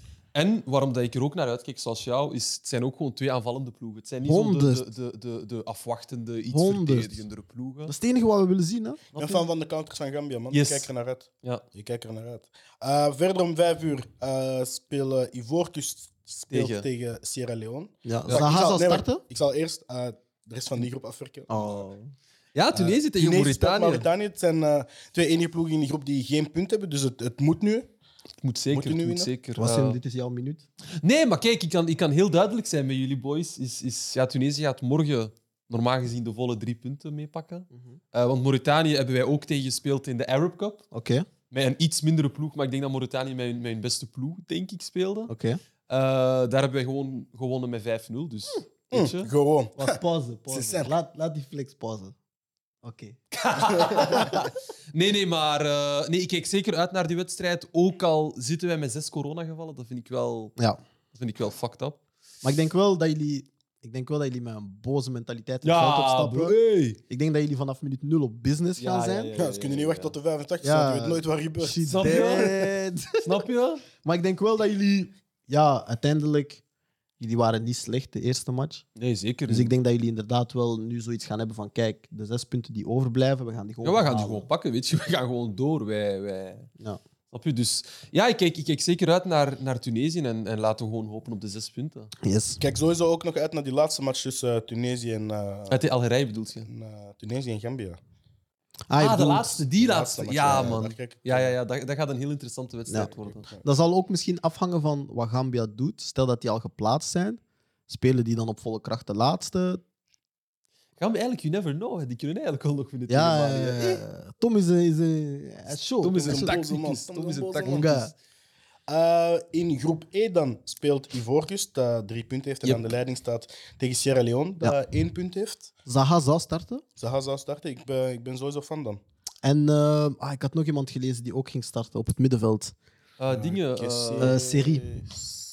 Speaker 3: En waarom dat ik er ook naar uitkijk, zoals jou, is het zijn ook gewoon twee aanvallende ploegen. Het zijn niet zo de,
Speaker 1: Honderd.
Speaker 3: de, de, de, de afwachtende, iets
Speaker 1: Honderd.
Speaker 3: verdedigendere ploegen.
Speaker 1: Dat is het enige wat we willen zien, hè?
Speaker 2: Ik ben fan van de counters van Gambia, man.
Speaker 3: Yes.
Speaker 2: Ik kijk er naar uit.
Speaker 3: Ja.
Speaker 2: Ik kijk er naar uit. Eh, verder om vijf uur eh, spelen Ivoorkust speelt tegen.
Speaker 3: Tegen.
Speaker 2: Sierra Leone.
Speaker 1: Ja.
Speaker 2: Maar
Speaker 1: Zaha
Speaker 2: ik zal-
Speaker 1: zal
Speaker 2: nee, maar
Speaker 1: starten.
Speaker 2: Ik zal eerst eh, de rest van die groep afwerken.
Speaker 1: Oh.
Speaker 3: Ja, Tunesië tegen
Speaker 2: Eh, Tunesië speelt
Speaker 3: Mauritanië.
Speaker 2: Mauritanië. Het zijn eh, twee enige ploegen in die groep die geen punt hebben, dus het, het moet nu.
Speaker 3: Het moet zeker,
Speaker 2: Moet je nu
Speaker 3: het moet
Speaker 2: winnen?
Speaker 3: zeker.
Speaker 1: Was
Speaker 3: eh,
Speaker 1: dit is jouw minuut.
Speaker 3: Nee, maar kijk, ik kan, ik kan heel duidelijk zijn met jullie boys. Is, is, ja, Tunesië gaat morgen normaal gezien de volle drie punten meepakken. Eh, want Mauritanië hebben wij ook tegen gespeeld in de Arab Cup.
Speaker 1: Oké,
Speaker 3: Met een iets mindere ploeg, maar ik denk dat Mauritanië mijn, mijn beste ploeg, denk ik, speelde.
Speaker 1: oké.
Speaker 3: Eh, daar hebben wij gewoon gewonnen met 5-0. Dus, weet je?
Speaker 2: Hm, gewoon.
Speaker 1: Wacht, pauze,
Speaker 2: C'est
Speaker 1: pauze.
Speaker 2: simple.
Speaker 1: Laat, laat die flex pauzen. Oké.
Speaker 3: Nee, nee, maar eh, nee, ik kijk zeker uit naar die wedstrijd. Ook al zitten wij met zes coronagevallen, dat vind ik wel,
Speaker 1: Ja.
Speaker 3: dat vind ik wel fucked up.
Speaker 1: Maar ik denk wel dat jullie... Ik denk wel dat jullie met een boze mentaliteit het veld opstappen. Ik denk dat jullie vanaf minuut nul op business gaan zijn.
Speaker 2: Ja, ze kunnen niet wachten tot de 85,
Speaker 1: Ja.
Speaker 2: want je weet nooit waar je bent.
Speaker 1: Shit,
Speaker 3: Snap je?
Speaker 1: dead.
Speaker 3: Snap je?
Speaker 1: maar ik denk wel dat jullie, ja, uiteindelijk, jullie waren niet slecht de eerste match.
Speaker 3: Nee, zeker.
Speaker 1: Dus ik denk dat jullie inderdaad wel nu zoiets gaan hebben van: kijk, de zes punten die overblijven, we gaan die
Speaker 3: Ja,
Speaker 1: gewoon.
Speaker 3: we gaan die
Speaker 1: halen.
Speaker 3: gewoon pakken, weet je. We gaan gewoon door. Wij, wij...
Speaker 1: Ja.
Speaker 3: Snap je? Dus ja, ik kijk, ik kijk zeker uit naar, naar Tunesië en, en laten we gewoon hopen op de zes punten.
Speaker 1: Yes.
Speaker 2: Ik Kijk sowieso ook nog uit naar die laatste match tussen eh, Tunesië en, eh,
Speaker 3: Uit de Algerije bedoelt je?
Speaker 2: en, eh, Tunesië en Gambia.
Speaker 1: Ah, je
Speaker 3: ah, de
Speaker 1: bedoelt-
Speaker 3: laatste, die
Speaker 2: De laatste
Speaker 3: laatste.
Speaker 2: match,
Speaker 3: ja,
Speaker 2: ja, daar
Speaker 3: man.
Speaker 2: kijk ik
Speaker 3: Ja,
Speaker 2: naar.
Speaker 3: ja, ja dat, dat gaat een heel interessante wedstrijd
Speaker 1: Ja.
Speaker 3: worden.
Speaker 1: Dat zal ook misschien afhangen van wat Gambia doet. Stel dat die al geplaatst zijn, spelen die dan op volle kracht de laatste?
Speaker 3: Gaan we eigenlijk, you never know, hè. die kunnen eigenlijk wel nog winnen.
Speaker 1: Ja,
Speaker 3: tegen Mali, hè.
Speaker 1: eh, Tom is een... Is een hij is show.
Speaker 3: Tom is
Speaker 2: is
Speaker 3: een
Speaker 2: een boze man.
Speaker 3: tacticus.
Speaker 2: Tom
Speaker 3: Tom
Speaker 2: is
Speaker 3: is
Speaker 2: een
Speaker 3: een
Speaker 2: boze
Speaker 1: man.
Speaker 3: tacticus.
Speaker 2: Eh, in groep E dan speelt Ivoorkust, dat drie punten heeft en
Speaker 3: Yep.
Speaker 2: aan de leiding staat tegen Sierra Leone, dat één punt heeft.
Speaker 1: Zaha zou starten.
Speaker 2: Zaha zou starten. Ik ben, ik ben sowieso fan dan.
Speaker 1: En eh, ah, ik had nog iemand gelezen die ook ging starten op het middenveld.
Speaker 3: Eh, dingen. eh,
Speaker 1: eh, Serie.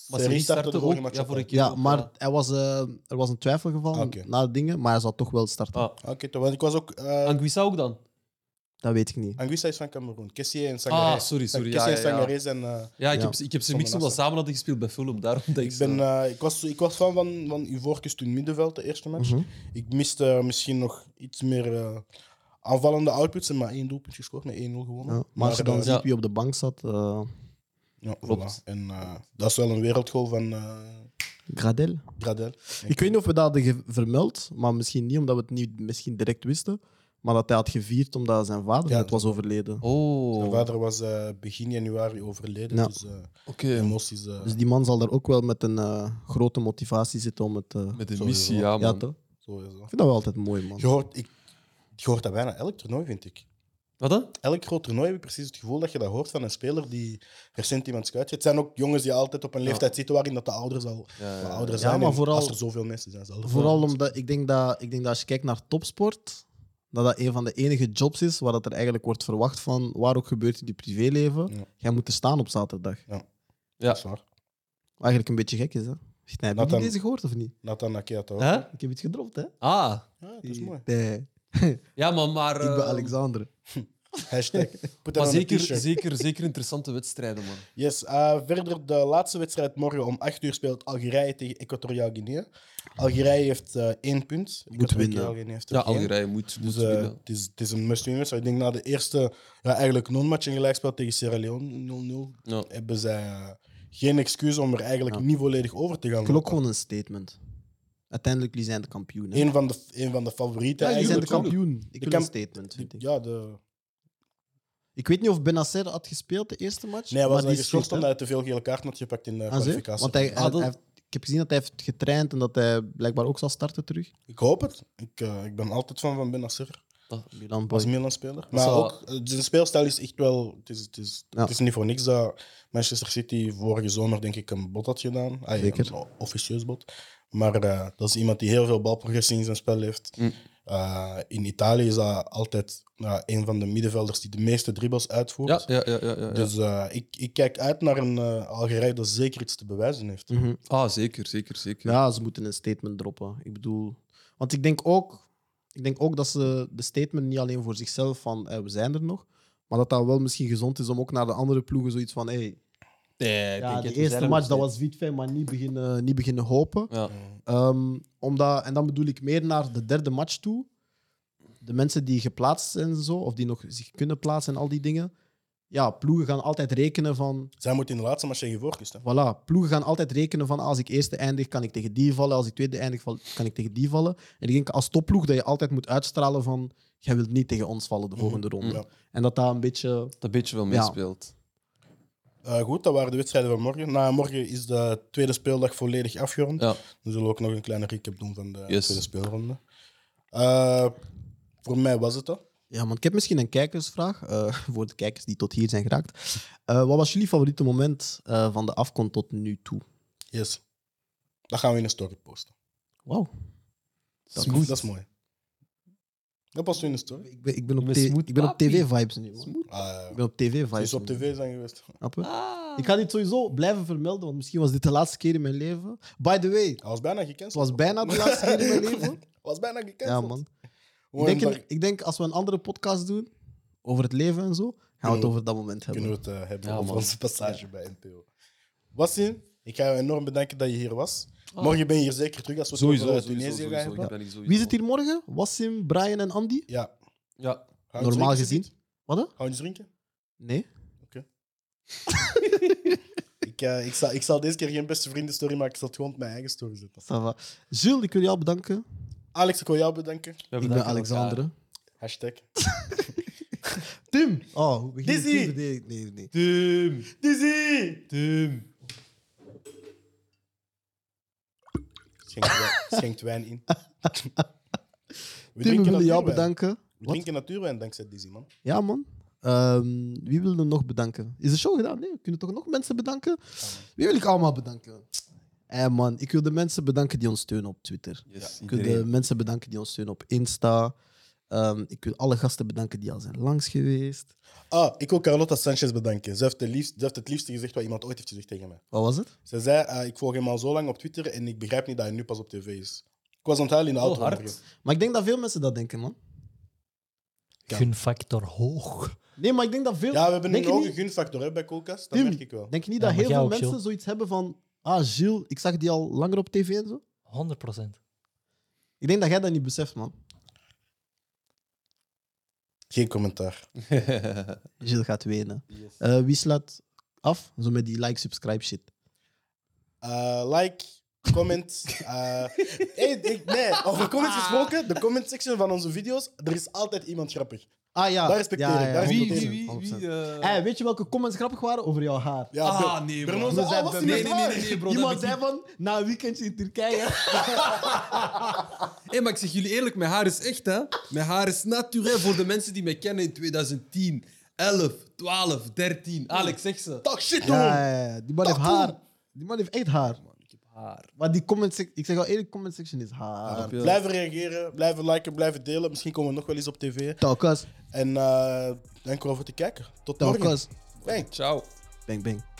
Speaker 3: maar Serie startte ook.
Speaker 2: vorige match
Speaker 3: ja,
Speaker 2: op,
Speaker 3: voor een
Speaker 2: hè.
Speaker 3: keer.
Speaker 1: Ja,
Speaker 3: ook,
Speaker 1: maar hij was, eh, er was een twijfelgeval
Speaker 2: Ah, oké.
Speaker 1: na de dingen, maar hij zal toch wel starten.
Speaker 3: Ah.
Speaker 2: Oké, toch, want ik was ook... eh
Speaker 3: Anguissa ook dan?
Speaker 1: Dat weet ik niet.
Speaker 2: Anguissa is van Cameroen. Kessier en Sangaré.
Speaker 3: Ah, sorry, sorry. Ja,
Speaker 2: Kessier
Speaker 3: ja,
Speaker 2: en
Speaker 3: ja.
Speaker 2: Sangaré zijn... eh,
Speaker 3: ja, ik,
Speaker 1: Ja.
Speaker 3: Heb, ik heb ze
Speaker 2: Zonder
Speaker 3: niks omdat
Speaker 2: afstand.
Speaker 3: ze samen hadden gespeeld bij Fulham. Daarom dat ik
Speaker 2: ik, ben,
Speaker 3: ze...
Speaker 2: eh, ik, was, ik was fan van, van Ivoorkust in het middenveld, de eerste match.
Speaker 1: Mhm.
Speaker 2: Ik miste misschien nog iets meer eh, aanvallende outputs. en maar één doelpunt gescoord, met 1-0 gewonnen.
Speaker 1: Ja, Maar als je dan
Speaker 2: eh,
Speaker 1: ziet wie op de bank zat, eh
Speaker 2: Ja,
Speaker 3: Klopt.
Speaker 2: voilà. En eh, dat is wel een wereldgoal van eh
Speaker 1: Gradel.
Speaker 2: Gradel.
Speaker 1: Ik weet niet of we dat hadden ge- vermeld, maar misschien niet omdat we het niet misschien direct wisten. Maar dat hij had gevierd omdat zijn vader
Speaker 2: Ja.
Speaker 1: net was overleden.
Speaker 2: Mijn
Speaker 3: Oh, oké.
Speaker 2: vader was eh, begin januari overleden,
Speaker 1: Ja.
Speaker 2: dus eh, emoties... eh,
Speaker 1: Dus die man zal daar ook wel met een eh, grote motivatie zitten om het. eh,
Speaker 3: Met
Speaker 2: Sowieso.
Speaker 3: een missie, ja,
Speaker 1: ja,
Speaker 3: man.
Speaker 1: toch?
Speaker 2: sowieso.
Speaker 1: Ik vind dat wel altijd mooi, man.
Speaker 2: Je hoort, ik, je hoort dat bijna elk toernooi, vind ik.
Speaker 3: Wat dan?
Speaker 2: Elk groot toernooi heb ik precies het gevoel dat je dat hoort van een speler die recent iemand scout. Het zijn ook jongens die altijd op een leeftijd zitten waarin dat de ouders al
Speaker 3: Ja,
Speaker 2: wat ouder
Speaker 1: ja,
Speaker 2: zijn.
Speaker 1: maar
Speaker 2: En
Speaker 1: vooral-
Speaker 2: als er zoveel mensen zijn. zal er
Speaker 1: Vooral
Speaker 2: wel-
Speaker 1: omdat ik denk, dat, ik denk dat als je kijkt naar topsport, dat dat een van de enige jobs is waar dat er eigenlijk wordt verwacht van waar ook gebeurt in je privéleven.
Speaker 2: Ja.
Speaker 1: Jij moet er staan op zaterdag.
Speaker 2: Dat is waar.
Speaker 1: Eigenlijk een beetje gek is, hè? Shit, nee, Heb je
Speaker 2: Nathan-
Speaker 1: die deze gehoord of niet?
Speaker 2: Nathan Akeato.
Speaker 3: Hè?
Speaker 1: Ik heb iets gedropt, hè?
Speaker 3: Ah,
Speaker 2: Ja, dat is mooi.
Speaker 1: Nee,
Speaker 3: ja, maar... maar
Speaker 1: ik ben
Speaker 3: eh,
Speaker 1: Alexander.
Speaker 2: Hashtag. Put
Speaker 3: Maar
Speaker 2: that on a
Speaker 3: zeker,
Speaker 2: t-shirt.
Speaker 3: zeker, zeker interessante wedstrijden, man.
Speaker 2: Yes, eh, verder de laatste wedstrijd morgen om 8 uur speelt Algerije tegen Equatoriaal Guinea. Algerije heeft eh één punt. Equatoriaal Guinea heeft er
Speaker 3: Ja,
Speaker 2: geen.
Speaker 3: Algerije moet, moet
Speaker 2: Dus eh,
Speaker 3: winnen.
Speaker 2: het, is, het is een must-win wedstrijd. Ik denk na de eerste ja, eigenlijk non-match en gelijkspel tegen Sierra Leone 0-0
Speaker 3: Ja.
Speaker 2: hebben zij eh, geen excuus om er eigenlijk niet volledig over te gaan.
Speaker 1: Ik wil ook
Speaker 2: lopen.
Speaker 1: gewoon een statement. Uiteindelijk, jullie zijn de kampioen. hè?
Speaker 2: Een van de, een van de favorieten.
Speaker 1: Ja, jullie zijn de
Speaker 2: eigenlijk.
Speaker 1: kampioen. Ik wil
Speaker 2: kamp-
Speaker 1: een statement, vind ik.
Speaker 2: Ja, de...
Speaker 1: Ik weet niet of Benacer had gespeeld de eerste match.
Speaker 2: Nee, hij was
Speaker 1: maar
Speaker 2: dan
Speaker 1: die is
Speaker 2: geschorst
Speaker 1: fit,
Speaker 2: omdat
Speaker 1: hè?
Speaker 2: hij te veel gele kaarten had gepakt in de
Speaker 1: Ah, zie?
Speaker 2: kwalificatie.
Speaker 1: Want hij, hij-
Speaker 3: Ah, dat-
Speaker 1: hij heeft- ik heb gezien dat hij heeft getraind en dat hij blijkbaar ook zal starten terug.
Speaker 2: Ik hoop het. Ik, eh, ik ben altijd fan van Benacer
Speaker 1: Milan
Speaker 2: als
Speaker 1: boy.
Speaker 2: Milan-speler. Maar
Speaker 3: zou-
Speaker 2: ook, eh, zijn speelstijl is echt wel... Het is, het, is,
Speaker 1: Ja.
Speaker 2: het is niet voor niks dat Manchester City vorige zomer denk ik een bot had gedaan. Ah, ja,
Speaker 1: Zeker.
Speaker 2: Een o- officieus bot. Maar eh, dat is iemand die heel veel balprogressie in zijn spel heeft.
Speaker 3: Mm.
Speaker 2: Eh, in Italië is dat altijd ja, een van de middenvelders die de meeste dribbles uitvoert.
Speaker 3: Ja, ja, ja. ja, ja, ja.
Speaker 2: Dus eh, ik, ik kijk uit naar een eh, Algerije dat zeker iets te bewijzen heeft.
Speaker 1: Mhm.
Speaker 3: Ah, zeker, zeker, zeker.
Speaker 1: Ja, ze moeten een statement droppen. Ik bedoel, want ik denk ook, ik denk ook dat ze de statement niet alleen voor zichzelf van eh, we zijn er nog, maar dat dat wel misschien gezond is om ook naar de andere ploegen zoiets van hey,
Speaker 3: Nee, ik denk
Speaker 1: ja,
Speaker 3: het,
Speaker 1: de
Speaker 3: we zijn
Speaker 1: eerste
Speaker 3: er
Speaker 1: match
Speaker 3: nog
Speaker 1: dat
Speaker 3: steeds.
Speaker 1: was Vitfijn, maar niet beginnen, niet beginnen hopen.
Speaker 3: Ja.
Speaker 1: Ehm, omdat, en dan bedoel ik meer naar de derde match toe. De mensen die geplaatst zijn en zo, of die nog zich kunnen plaatsen en al die dingen. Ja, ploegen gaan altijd rekenen van
Speaker 2: Zij moet in de laatste match tegen Voorkust. hè.
Speaker 1: Voilà, ploegen gaan altijd rekenen van als ik eerste eindig, kan ik tegen die vallen. Als ik tweede eindig, val- kan ik tegen die vallen. En ik denk als topploeg dat je altijd moet uitstralen van jij wilt niet tegen ons
Speaker 3: Mhm.
Speaker 1: vallen de volgende ronde.
Speaker 2: Ja.
Speaker 1: En dat daar een beetje...
Speaker 3: Dat een beetje wel
Speaker 1: Ja.
Speaker 3: meespeelt.
Speaker 2: Eh, goed, dat waren de wedstrijden van morgen. Na morgen is de tweede speeldag volledig afgerond.
Speaker 3: Ja.
Speaker 2: Dan zullen we ook nog een kleine recap doen van de
Speaker 3: Yes.
Speaker 2: tweede speelronde. Eh, voor mij was het dat.
Speaker 1: Ja, man, ik heb misschien een kijkersvraag eh, voor de kijkers die tot hier zijn geraakt. Eh, wat was jullie favoriete moment eh, van de afkon tot nu toe?
Speaker 2: Yes. Dat gaan we in een story posten.
Speaker 1: Wauw.
Speaker 2: Dat,
Speaker 3: Smooth.
Speaker 2: dat is mooi. Dat past nu in de story.
Speaker 1: Ik ben, ik ben op,
Speaker 3: Met
Speaker 1: t-
Speaker 3: smooth
Speaker 1: ik ben op
Speaker 3: papi.
Speaker 1: tv-vibes nu, man.
Speaker 2: Ah,
Speaker 1: Ik ben op tv-vibes.
Speaker 2: die is op
Speaker 1: nu.
Speaker 2: tv zijn geweest.
Speaker 1: Snap je?
Speaker 3: Ah.
Speaker 1: Ik ga dit sowieso blijven vermelden, want misschien was dit de laatste keer in mijn leven. By the way,
Speaker 2: Hij was bijna
Speaker 1: het
Speaker 2: gecanceld.
Speaker 1: was bijna de laatste keer in mijn leven.
Speaker 2: was bijna gecanceld.
Speaker 1: Ja, man. Ik
Speaker 2: Gewoon
Speaker 1: denk,
Speaker 2: daar
Speaker 1: in- ik denk als we een andere podcast doen over het leven en zo, gaan we het over dat moment
Speaker 2: kunnen we
Speaker 1: hebben.
Speaker 2: het eh, hebben
Speaker 3: Ja,
Speaker 2: over
Speaker 3: man.
Speaker 2: onze passage bij NPO. Wassim, ik ga je enorm bedanken dat je hier was.
Speaker 3: Oh.
Speaker 2: Morgen ben je hier zeker terug als we het
Speaker 3: Sowieso,
Speaker 2: over eh,
Speaker 3: sowieso,
Speaker 2: Tunesië
Speaker 3: sowieso.
Speaker 2: gaan
Speaker 3: Ik
Speaker 2: hebben.
Speaker 3: ben hier sowieso.
Speaker 1: Wie zit hier morgen? Wassim, Brian en Andy?
Speaker 2: Ja.
Speaker 3: Ja.
Speaker 2: Gaan we
Speaker 1: Normaal
Speaker 2: drinken,
Speaker 1: gezien.
Speaker 2: Judith?
Speaker 1: Wat? hè?
Speaker 2: Gaan we iets drinken?
Speaker 1: Nee.
Speaker 2: Ik, eh, ik, zal, ik zal deze keer geen beste vrienden story maken, ik zal het gewoon op mijn eigen story zetten.
Speaker 1: Ça va. Jules, ik wil jou bedanken.
Speaker 2: Alex, ik wil jou bedanken.
Speaker 3: We
Speaker 1: Ik
Speaker 3: bedanken
Speaker 1: ben
Speaker 3: elkaar.
Speaker 1: Alexandre.
Speaker 2: Hashtag.
Speaker 1: Tim! Oh, hoe begin ik?
Speaker 2: Dizzy!
Speaker 1: Nee, nee, nee.
Speaker 3: Tim.
Speaker 2: Dizzy!
Speaker 3: Tim.
Speaker 2: Schenkt wijn, schenkt wijn in. We
Speaker 1: Tim, we willen jou
Speaker 2: natuurwijn.
Speaker 1: bedanken.
Speaker 2: We
Speaker 1: Wat?
Speaker 2: drinken natuurwijn dankzij Dizzy, man.
Speaker 1: Ja, man. Ehm, wie wil er nog bedanken? Is de show gedaan? Nee, we kunnen toch nog mensen bedanken? Wie wil ik allemaal bedanken? Eh man, ik wil de mensen bedanken die ons steunen op Twitter.
Speaker 3: Yes,
Speaker 1: Ik wil de
Speaker 3: iedereen.
Speaker 1: mensen bedanken die ons steunen op Insta. Ehm, ik wil alle gasten bedanken die al zijn langs geweest.
Speaker 2: Ah, ik wil Carlota Sanchez bedanken. Ze heeft, de liefst, ze heeft het liefste gezegd wat iemand ooit heeft gezegd tegen mij.
Speaker 1: Wat was het?
Speaker 2: Ze zei, eh, ik volg hem al zo lang op Twitter en ik begrijp niet dat hij nu pas op tv is. Ik was aan het huilen in de
Speaker 3: Wel
Speaker 2: auto.
Speaker 3: hard.
Speaker 2: overigens.
Speaker 1: Maar ik denk dat veel mensen dat denken, man.
Speaker 2: Ja.
Speaker 5: Gunfactor hoog.
Speaker 1: Nee, maar ik denk dat veel...
Speaker 2: Ja, we hebben
Speaker 1: denk
Speaker 2: een
Speaker 1: je
Speaker 2: hoge
Speaker 1: niet-
Speaker 2: gunfactor hè, bij Koelkast. Dat
Speaker 1: Tim,
Speaker 2: merk ik wel.
Speaker 1: Denk je niet
Speaker 5: Ja,
Speaker 1: dat
Speaker 5: maar
Speaker 1: heel
Speaker 5: jij
Speaker 1: veel
Speaker 5: ook,
Speaker 1: mensen
Speaker 5: Gilles.
Speaker 1: zoiets hebben van... Ah, Gilles, ik zag die al langer op tv en zo.
Speaker 5: 100 procent.
Speaker 1: Ik denk dat jij dat niet beseft, man.
Speaker 2: Geen commentaar.
Speaker 1: Gilles gaat wenen.
Speaker 3: Yes.
Speaker 1: Eh, wie slaat af? Zo met die like-subscribe shit.
Speaker 2: Eh, like, comment. eh, hey, ik- nee, over comments gesproken. De comment section van onze video's. Er is altijd iemand grappig.
Speaker 1: Ah ja.
Speaker 2: Daar respecteer
Speaker 1: Ja,
Speaker 2: ik,
Speaker 1: ja,
Speaker 2: daar
Speaker 3: Wie, wie,
Speaker 1: 100%,
Speaker 3: wie? wie
Speaker 1: 100%.
Speaker 3: eh,
Speaker 1: Eh, weet je welke comments grappig waren over jouw haar?
Speaker 2: Ja,
Speaker 3: Ah,
Speaker 2: Ber-
Speaker 3: nee,
Speaker 2: Bernard zei,
Speaker 3: man.
Speaker 1: We zijn
Speaker 2: "Ah, was die
Speaker 1: bij-
Speaker 3: Nee,
Speaker 2: met
Speaker 3: nee, nee,
Speaker 2: haar?"
Speaker 3: nee, bro. dat heb
Speaker 1: Iemand
Speaker 3: ik
Speaker 1: zei van, na een weekendje in Turkije.
Speaker 3: Hé, maar ik zeg jullie eerlijk, mijn haar is echt, hè? Mijn haar is naturel voor de mensen die mij kennen in 2010, 11, 12, 13. Alex, zeg ze.
Speaker 2: Talk shit, doen.
Speaker 1: Ja, ja, ja. die man heeft haar. Die man heeft echt haar.
Speaker 3: Ik heb haar.
Speaker 1: Maar die comment sec- ik zeg al eerlijk, comment section is haar.
Speaker 3: Ja.
Speaker 2: Blijven reageren, blijven liken, blijven delen. Misschien komen we nog wel eens op tv.
Speaker 1: Talkas,
Speaker 2: En eh dank u wel voor het kijken. Tot morgen.
Speaker 1: talkas.
Speaker 2: Bang.
Speaker 3: Ciao.
Speaker 1: Bang, bang.